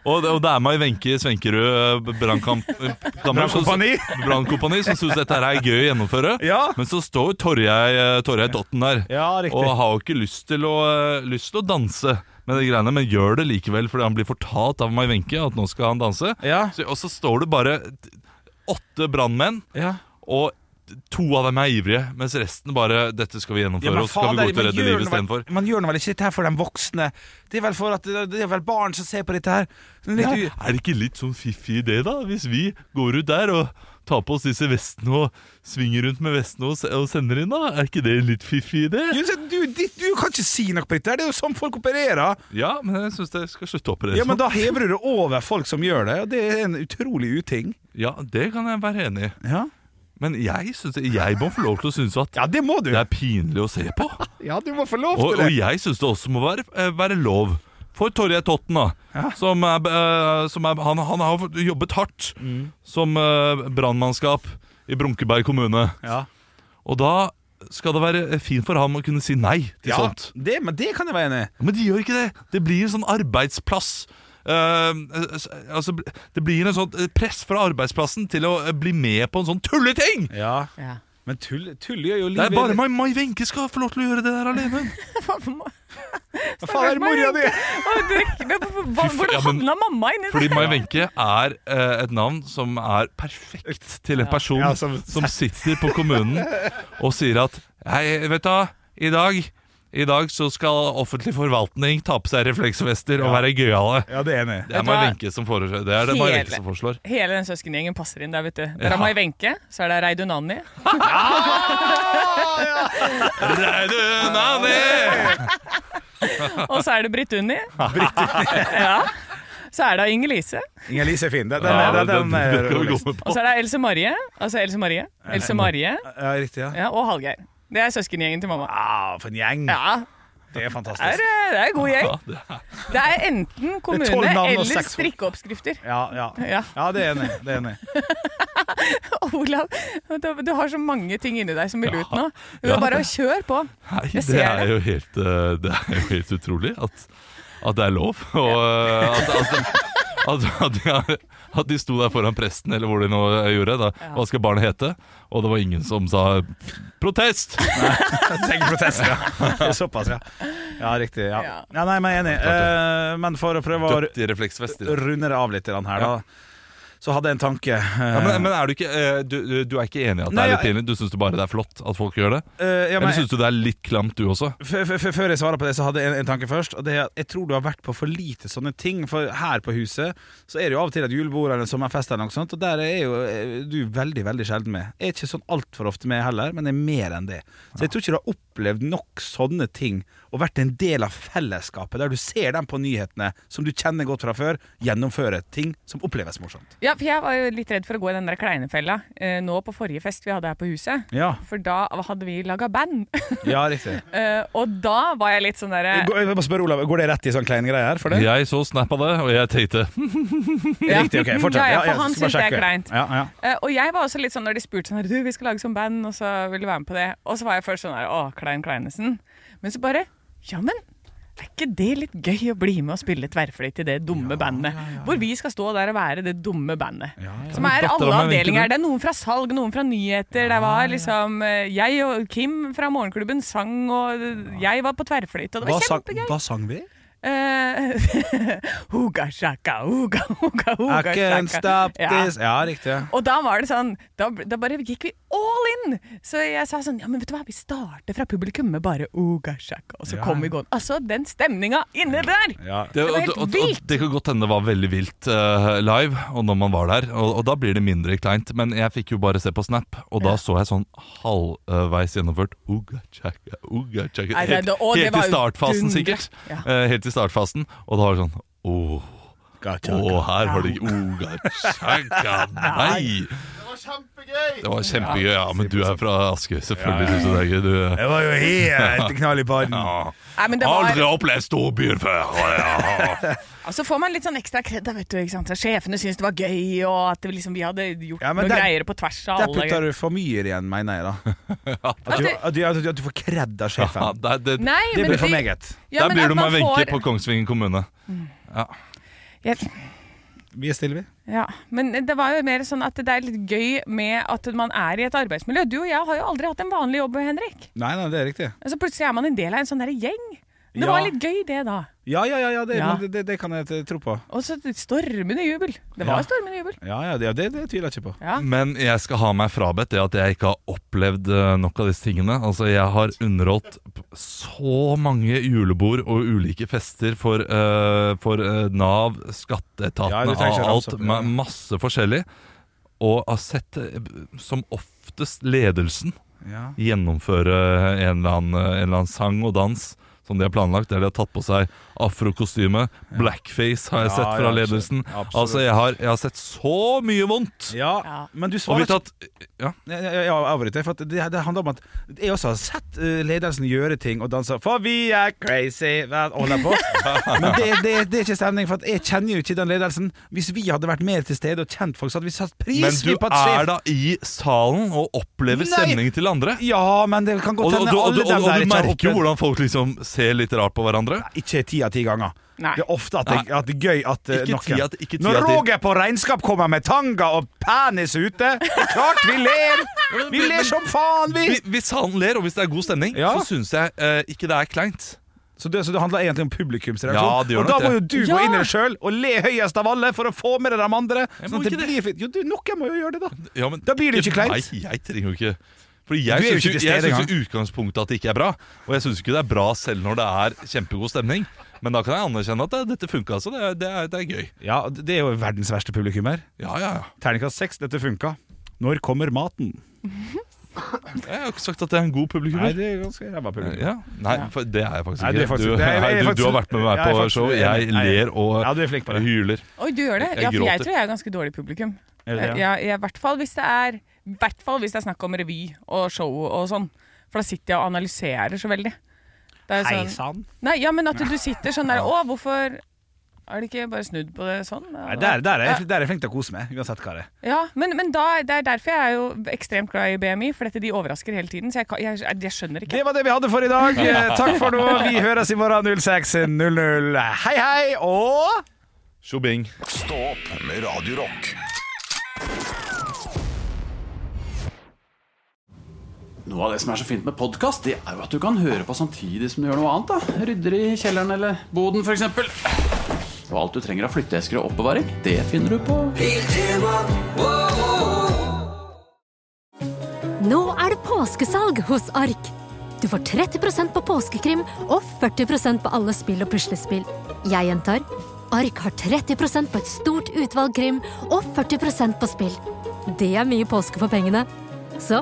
[SPEAKER 4] Og, det- og det er Mai Wenche i Svenkerud eh, brannkamp- eh, kammer som-
[SPEAKER 3] Brannkompani.
[SPEAKER 4] brannkompani som syns dette her er gøy å gjennomføre. Men så står jo Torjei eh, Torjei Dotten der
[SPEAKER 3] Ja, riktig.
[SPEAKER 4] og har jo ikke lyst til å, eh, lyst til å danse med de greiene, men gjør det likevel fordi han blir fortalt av Mai Wenche at nå skal han danse. Så, og så står det bare t- åtte brannmenn, og to av dem er ivrige, mens resten bare 'dette skal vi
[SPEAKER 3] Ja,
[SPEAKER 4] gjennomføre',
[SPEAKER 3] men
[SPEAKER 4] og så skal vi
[SPEAKER 3] fader,
[SPEAKER 4] gå ut og
[SPEAKER 3] man
[SPEAKER 4] redde livet
[SPEAKER 3] gjør nå vel- (laughs)
[SPEAKER 4] istedenfor.
[SPEAKER 3] Man gjør nå vel ikke dette her for de voksne. Det er vel for at det er vel barn som ser på dette her. Sånn litt
[SPEAKER 4] Ja,
[SPEAKER 3] u-
[SPEAKER 4] er det ikke litt sånn fiffig idé, da? Hvis vi går ut der og tar på oss disse vestene og svinger rundt med vestene og, se- og sender inn, da? Er ikke det en litt fiffig idé?
[SPEAKER 3] Jens, du, ditt- du kan ikke si noe på dette her, det er jo sånn folk opererer.
[SPEAKER 4] Ja, men jeg syns dere skal slutte å operere
[SPEAKER 3] Ja, men
[SPEAKER 4] sånn.
[SPEAKER 3] da hever du det over folk som gjør det, og det er en utrolig uting.
[SPEAKER 4] Ja, det kan jeg være enig i. Men jeg, synes, jeg må få lov til å synes at
[SPEAKER 3] det,
[SPEAKER 4] er pinlig å se på.
[SPEAKER 3] Ja, du må få lov
[SPEAKER 4] Og,
[SPEAKER 3] til det.
[SPEAKER 4] og jeg syns det også må være, eh, være lov. For Torje Totten, da. Som er, eh, som er, han, han har fått jobbet hardt som uh, brannmannskap i Brunkeberg kommune. Og da skal det være fint for ham å kunne si nei til
[SPEAKER 3] Ja,
[SPEAKER 4] sånt.
[SPEAKER 3] det, men det kan jeg være enig i.
[SPEAKER 4] Men de gjør ikke det. Det blir en sånn arbeidsplass. Eh, s- altså, det blir en sånn eh, press fra arbeidsplassen til å eh, bli med på en sånn tulleting!
[SPEAKER 3] Ja. Men tull, tull gjør jo
[SPEAKER 4] Det
[SPEAKER 3] livet
[SPEAKER 4] er bare Mai Mai Wenche skal få lov til å gjøre det der alene.
[SPEAKER 3] Hva faen er det mora di?
[SPEAKER 5] Hvordan havna mamma inni
[SPEAKER 4] Fordi Mai
[SPEAKER 5] der?
[SPEAKER 4] Wenche er eh, et navn som er perfekt til en
[SPEAKER 5] Ja.
[SPEAKER 4] person
[SPEAKER 5] Ja,
[SPEAKER 4] som,
[SPEAKER 5] som-
[SPEAKER 4] sitter på kommunen og sier at Hei, vet du hva, i dag i dag så skal offentlig forvaltning ta på seg refleksvester og være gøyale.
[SPEAKER 3] Ja, det er (laughs) enig.
[SPEAKER 4] Det er Mai Wenche som foreslår. Det er det Mai Wenche som foreslår.
[SPEAKER 5] hele den søskengjengen passer inn der, vet du. Der
[SPEAKER 4] Ja.
[SPEAKER 5] er Mai Wenche, så er det Reidun Anni.
[SPEAKER 3] Ah,
[SPEAKER 4] Reidun Anni!
[SPEAKER 5] Og så er det Britt Unni. (laughs) ja. Så er det Inger Lise.
[SPEAKER 3] Inger-Lise er fin. Den, den,
[SPEAKER 4] Ja, den-
[SPEAKER 3] den, den,
[SPEAKER 4] den
[SPEAKER 3] er
[SPEAKER 4] kan vi gå
[SPEAKER 3] roligst.
[SPEAKER 4] med på.
[SPEAKER 5] Og så er det Else Marie. Altså Else Marie. Else Marie.
[SPEAKER 3] Ja, riktig, ja.
[SPEAKER 5] Ja, og Hallgeir. Det er søskengjengen til mamma.
[SPEAKER 3] Ah, for en gjeng.
[SPEAKER 5] Ja,
[SPEAKER 3] Det er
[SPEAKER 5] det er, det
[SPEAKER 3] fantastisk.
[SPEAKER 5] er en god gjeng. Det er enten
[SPEAKER 3] Det er tolv
[SPEAKER 5] kommune
[SPEAKER 3] navn og
[SPEAKER 5] eller
[SPEAKER 3] seks folk.
[SPEAKER 5] strikkeoppskrifter. (laughs)
[SPEAKER 3] Ja, ja.
[SPEAKER 5] Ja.
[SPEAKER 3] ja, det er enig. Det er enig.
[SPEAKER 5] Olav, du, du har så mange ting inni deg som vil ut nå. Du
[SPEAKER 4] Ja.
[SPEAKER 5] må bare kjøre på.
[SPEAKER 4] Nei,
[SPEAKER 5] Jeg
[SPEAKER 4] det
[SPEAKER 5] ser
[SPEAKER 4] er
[SPEAKER 5] det.
[SPEAKER 4] jo helt, eh, det er jo helt utrolig at, at det er lov. Og eh, at, at, at, at, de, har- at de sto der foran presten, eller hvor de nå eh, gjorde. Da. Hva skal barnet hete? Og det var ingen som sa protest!
[SPEAKER 3] Tenk protest, ja. Det er såpass, ja. Ja, riktig. Ja,
[SPEAKER 5] Ja.
[SPEAKER 3] ja nei, men jeg er enig. Eh, men for å prøve å
[SPEAKER 4] Døpt i refleksvest. i det.
[SPEAKER 3] runde det av litt grann her, da, så hadde jeg en tanke. eh,
[SPEAKER 4] Ja, men, men er du, ikke, eh, du, du- du er ikke enig i at det
[SPEAKER 3] Nei,
[SPEAKER 4] er litt
[SPEAKER 3] jeg-
[SPEAKER 4] pinlig? Du syns bare det er flott at folk gjør det? sånn
[SPEAKER 3] eh, ja, men-
[SPEAKER 4] Eller syns du det er litt klamt, du også?
[SPEAKER 3] F- f- f- Før jeg svarer på det, så hadde jeg en, en tanke først. Og det er at Jeg tror du har vært på for lite sånne ting. For her på huset Så er det jo av og til et julebord eller en sommerfest, eller noe sånt og der er jo eh, du veldig veldig sjelden med. Jeg er ikke sånn altfor ofte med heller, men jeg er mer enn det. Så jeg tror ikke du har opplevd nok sånne ting og vært en del av fellesskapet, der du ser dem på nyhetene som du kjenner godt fra før, gjennomføre ting som oppleves morsomt.
[SPEAKER 5] Ja, for jeg var jo litt redd for å gå i den der kleinefella eh, nå på forrige fest vi hadde her på huset.
[SPEAKER 3] Ja,
[SPEAKER 5] For da hadde vi laga band. (laughs)
[SPEAKER 3] ja riktig.
[SPEAKER 5] Eh, og da var jeg litt sånn derre
[SPEAKER 3] Gå- Jeg må spørre Olav, Går det rett i sånn kleine greier for det?
[SPEAKER 4] Jeg så snap av det, og jeg tenkte hm,
[SPEAKER 5] Ja.
[SPEAKER 3] Riktig, ok, fortsett.
[SPEAKER 5] Ja, ja, for
[SPEAKER 3] jeg
[SPEAKER 5] han synes
[SPEAKER 3] skal bare
[SPEAKER 5] det er
[SPEAKER 3] sjekke.
[SPEAKER 5] kleint.
[SPEAKER 3] Ja, ja.
[SPEAKER 5] Eh, og jeg var også litt sånn når de spurte sånn her, Du, vi skal lage sånn band, og så vil du være med på det. Og så var jeg først sånn her, å, Klein Kleinesen. Men så bare Ja, men er ikke det litt gøy å bli med og spille tverrfløyte i det dumme bandet? Hvor vi skal stå der og være det dumme bandet. Som
[SPEAKER 4] Men
[SPEAKER 5] er alle
[SPEAKER 4] datteren er vel ikke
[SPEAKER 5] avdelinger.
[SPEAKER 4] det?
[SPEAKER 5] Det er noen fra salg, noen fra nyheter. Det var liksom eh, Jeg og Kim fra morgenklubben sang, og jeg var på tverrfløyte, og det
[SPEAKER 3] Hva,
[SPEAKER 5] var
[SPEAKER 3] sang,
[SPEAKER 5] kjempegøy.
[SPEAKER 3] hva sang vi?
[SPEAKER 5] Eh, (laughs) Uga shaka, uga, uga, uga
[SPEAKER 3] I
[SPEAKER 5] shaka.
[SPEAKER 3] can stop
[SPEAKER 5] Ja.
[SPEAKER 3] this Ja, riktig.
[SPEAKER 5] Og da var det sånn Da, da bare gikk vi all in! Så jeg sa sånn, ja, men vet du hva, vi starter fra publikum med bare Oga Shaka, og så
[SPEAKER 4] Ja.
[SPEAKER 5] kommer vi gående. Altså, den stemninga inne der!
[SPEAKER 4] Det,
[SPEAKER 5] var
[SPEAKER 4] og-
[SPEAKER 5] helt
[SPEAKER 4] og- og
[SPEAKER 5] vilt!
[SPEAKER 4] Det kan godt hende det var veldig vilt eh, live, og når man var der. Og, og da blir det mindre kleint. Men jeg fikk jo bare se på Snap, og da
[SPEAKER 5] Ja.
[SPEAKER 4] så jeg sånn halvveis gjennomført Uga chaka, uga chaka.
[SPEAKER 5] Nei, det-
[SPEAKER 4] Helt,
[SPEAKER 5] det- å, det
[SPEAKER 4] helt
[SPEAKER 5] var jo
[SPEAKER 4] i startfasen,
[SPEAKER 5] dundre.
[SPEAKER 4] sikkert.
[SPEAKER 5] Ja.
[SPEAKER 4] Eh, Helt i startfasen. Og da var det sånn Åh, åh, her har de Uga
[SPEAKER 5] (laughs)
[SPEAKER 4] chaka, nei! Det var kjempegøy. Ja, men du er fra Askøy, selvfølgelig syns du det er gøy. Du,
[SPEAKER 3] Jeg var jo helt knall i pannen.
[SPEAKER 5] (laughs) Nei, men det var,
[SPEAKER 4] Aldri opplevd storbyer før!
[SPEAKER 5] (laughs)
[SPEAKER 4] Ja.
[SPEAKER 5] og så får man litt sånn ekstra kred, da, vet du. ikke sant? Så Sjefene syntes det var gøy, og at det liksom, vi hadde gjort
[SPEAKER 3] Ja, men
[SPEAKER 5] noen
[SPEAKER 3] der-
[SPEAKER 5] greier på tvers av
[SPEAKER 3] Der
[SPEAKER 5] alle.
[SPEAKER 3] putter du for mye igjen, mener jeg (laughs) da. At du, at du, at du, at du får kred av sjefen.
[SPEAKER 4] det, det,
[SPEAKER 5] Nei,
[SPEAKER 3] det
[SPEAKER 5] men
[SPEAKER 3] blir for
[SPEAKER 5] vi-
[SPEAKER 3] meget.
[SPEAKER 5] Ja,
[SPEAKER 4] Der
[SPEAKER 5] men
[SPEAKER 4] blir
[SPEAKER 5] at
[SPEAKER 4] du
[SPEAKER 5] man
[SPEAKER 4] med Wenche
[SPEAKER 5] får-
[SPEAKER 4] på Kongsvinger kommune. Ja.
[SPEAKER 5] Jeg,
[SPEAKER 3] Vi er stille, vi.
[SPEAKER 5] Ja, men det var jo mer sånn at det er litt gøy med at man er i et arbeidsmiljø. Du og jeg har jo aldri hatt en vanlig jobb, Henrik.
[SPEAKER 3] Nei, nei, det er riktig.
[SPEAKER 5] Altså plutselig er man en del av en sånn der gjeng. Det
[SPEAKER 3] Ja.
[SPEAKER 5] var litt gøy det da.
[SPEAKER 3] Ja, ja, ja, ja, det,
[SPEAKER 5] Ja.
[SPEAKER 3] men det, det, det kan jeg t- tro på.
[SPEAKER 5] Og så stormende jubel. Det
[SPEAKER 3] Ja.
[SPEAKER 5] var stormende jubel.
[SPEAKER 3] Ja, ja, det, det, det tviler jeg ikke på.
[SPEAKER 5] Ja.
[SPEAKER 4] Men jeg skal ha meg frabedt det at jeg ikke har opplevd eh, nok av disse tingene. Altså, jeg har underholdt p- så mange julebord og ulike fester for, eh, for eh, Nav,
[SPEAKER 3] Ja, du
[SPEAKER 4] skatteetatene,
[SPEAKER 3] trenger ikke å ramse
[SPEAKER 4] alt.
[SPEAKER 3] opp, ja.
[SPEAKER 4] ma- Masse forskjellig. Og har sett eh, b- som oftest ledelsen
[SPEAKER 3] Ja.
[SPEAKER 4] gjennomføre en eller, annen, en eller annen sang og dans som de har planlagt, der de har tatt på seg afrokostyme. Blackface har jeg
[SPEAKER 3] Ja,
[SPEAKER 4] sett fra
[SPEAKER 3] ja,
[SPEAKER 4] ledelsen.
[SPEAKER 3] absolutt.
[SPEAKER 4] Altså, jeg har, jeg har sett så mye vondt!
[SPEAKER 3] Ja, men du
[SPEAKER 4] Og
[SPEAKER 3] svarer
[SPEAKER 4] vi tatt Ja.
[SPEAKER 3] Ja, ja, ja, avbryt deg, for at det, det handler om at jeg også har sett eh, ledelsen gjøre ting og danse For vi er crazy hva-
[SPEAKER 4] (laughs)
[SPEAKER 3] og holder på. Men det, det, det er ikke stemning, for at jeg kjenner jo ikke den ledelsen. Hvis vi hadde vært mer til stede og kjent folk, så hadde vi satt pris
[SPEAKER 4] Men du
[SPEAKER 3] vi på at sjef-
[SPEAKER 4] er da i salen og opplever
[SPEAKER 3] Nei.
[SPEAKER 4] stemningen til andre.
[SPEAKER 3] Ja, men det kan
[SPEAKER 4] Og,
[SPEAKER 3] godt
[SPEAKER 4] og,
[SPEAKER 3] hende
[SPEAKER 4] du- og, du- og,
[SPEAKER 3] alle dem
[SPEAKER 4] og
[SPEAKER 3] der
[SPEAKER 4] du
[SPEAKER 3] ikke har
[SPEAKER 4] merker jo
[SPEAKER 3] opplevd-
[SPEAKER 4] hvordan folk liksom ser litt rart på hverandre.
[SPEAKER 3] Ikke ti av ti ganger.
[SPEAKER 5] Nei.
[SPEAKER 3] Det er ofte at det, at det er gøy at eh,
[SPEAKER 4] Ikke
[SPEAKER 3] noen
[SPEAKER 4] ti av- ikke ti
[SPEAKER 3] Når
[SPEAKER 4] av ti.
[SPEAKER 3] Roger på regnskap kommer med tanga og penis ute, det er klart vi ler! Vi ler som faen, vi!
[SPEAKER 4] Hvi- Hvis han ler, og hvis det er god stemning,
[SPEAKER 3] Ja.
[SPEAKER 4] så syns jeg eh, ikke det er kleint.
[SPEAKER 3] Så det, så det handler egentlig om publikums reaksjon.
[SPEAKER 4] Ja, det gjør
[SPEAKER 3] og da
[SPEAKER 4] nok
[SPEAKER 3] må jo
[SPEAKER 4] det.
[SPEAKER 3] du
[SPEAKER 5] Ja.
[SPEAKER 3] gå inn i det sjøl og le høyest av alle for å få med deg de andre.
[SPEAKER 4] Jeg
[SPEAKER 3] Sånn
[SPEAKER 4] må
[SPEAKER 3] at det
[SPEAKER 4] ikke det.
[SPEAKER 3] blir fint. Jo, du, noen må jo gjøre det, da.
[SPEAKER 4] Ja, men
[SPEAKER 3] Da blir det ikke kleint.
[SPEAKER 4] Nei, jeg trenger jo ikke Fordi
[SPEAKER 3] Du
[SPEAKER 4] jeg
[SPEAKER 3] er jo
[SPEAKER 4] syns
[SPEAKER 3] ikke
[SPEAKER 4] jo
[SPEAKER 3] til stede
[SPEAKER 4] jeg syns
[SPEAKER 3] engang.
[SPEAKER 4] jo i utgangspunktet at det ikke er bra. Og jeg syns ikke det er bra selv når det er kjempegod stemning. Men da kan jeg anerkjenne at det, dette funka, altså. Det, er- det, er- det er gøy.
[SPEAKER 3] Ja, Det er jo verdens verste publikummer.
[SPEAKER 4] Ja, ja, ja.
[SPEAKER 3] Terningkast seks, dette funka. Når kommer maten?
[SPEAKER 4] Jeg har ikke sagt at det er en god publikum.
[SPEAKER 3] Nei, det er ganske ræva publikum.
[SPEAKER 4] Ja. Nei, for det er jeg faktisk
[SPEAKER 3] Nei,
[SPEAKER 4] ikke.
[SPEAKER 3] du er faktisk-
[SPEAKER 4] du,
[SPEAKER 3] det er- jeg er
[SPEAKER 4] nei, du, du har
[SPEAKER 3] faktisk-
[SPEAKER 4] vært med meg
[SPEAKER 3] jeg er
[SPEAKER 4] på
[SPEAKER 3] faktisk-
[SPEAKER 4] show. Jeg
[SPEAKER 3] nei.
[SPEAKER 4] ler og
[SPEAKER 3] Ja, du er flink på det.
[SPEAKER 4] hyler.
[SPEAKER 5] Oi, du gjør det?
[SPEAKER 4] Jeg- jeg
[SPEAKER 5] Ja, for jeg
[SPEAKER 4] gråter.
[SPEAKER 5] tror jeg er ganske dårlig publikum.
[SPEAKER 3] Er det det,
[SPEAKER 5] Ja, ja, I hvert fall hvis det er i hvert fall hvis det er snakk om revy og show og sånn. For da sitter jeg og analyserer så veldig. Det er
[SPEAKER 3] Hei
[SPEAKER 5] sånn,
[SPEAKER 3] sann.
[SPEAKER 5] nei, ja,
[SPEAKER 3] (laughs)
[SPEAKER 5] men at du sitter sånn der Å, hvorfor har de ikke bare snudd på det sånn?
[SPEAKER 3] Nei, Der, der, er jeg- der er jeg flink til å kose meg, uansett hva det er.
[SPEAKER 5] Ja, men, men da, det er derfor jeg er jo ekstremt glad i BMI, for dette de overrasker hele tiden. Så jeg, kan- jeg, jeg skjønner ikke.
[SPEAKER 3] Det var det vi hadde for i
[SPEAKER 4] (laughs)
[SPEAKER 3] dag. Eh, Takk for nå. Vi høres i morgen 06.00. Hei, hei, og
[SPEAKER 4] Tjobing.
[SPEAKER 1] Stå opp med Radio Rock.
[SPEAKER 11] Noe av det som er så fint med podkast, det er jo at du kan høre på samtidig som du gjør noe annet. da. Rydder i kjelleren eller boden, f.eks. Og alt du trenger av flytteesker og oppbevaring, det finner du på
[SPEAKER 9] Nå er det påskesalg hos Ark. Du får 30 på påskekrim og 40 på alle spill og puslespill. Jeg gjentar Ark har 30 på et stort utvalg krim og 40 på spill. Det er mye påske for pengene. Så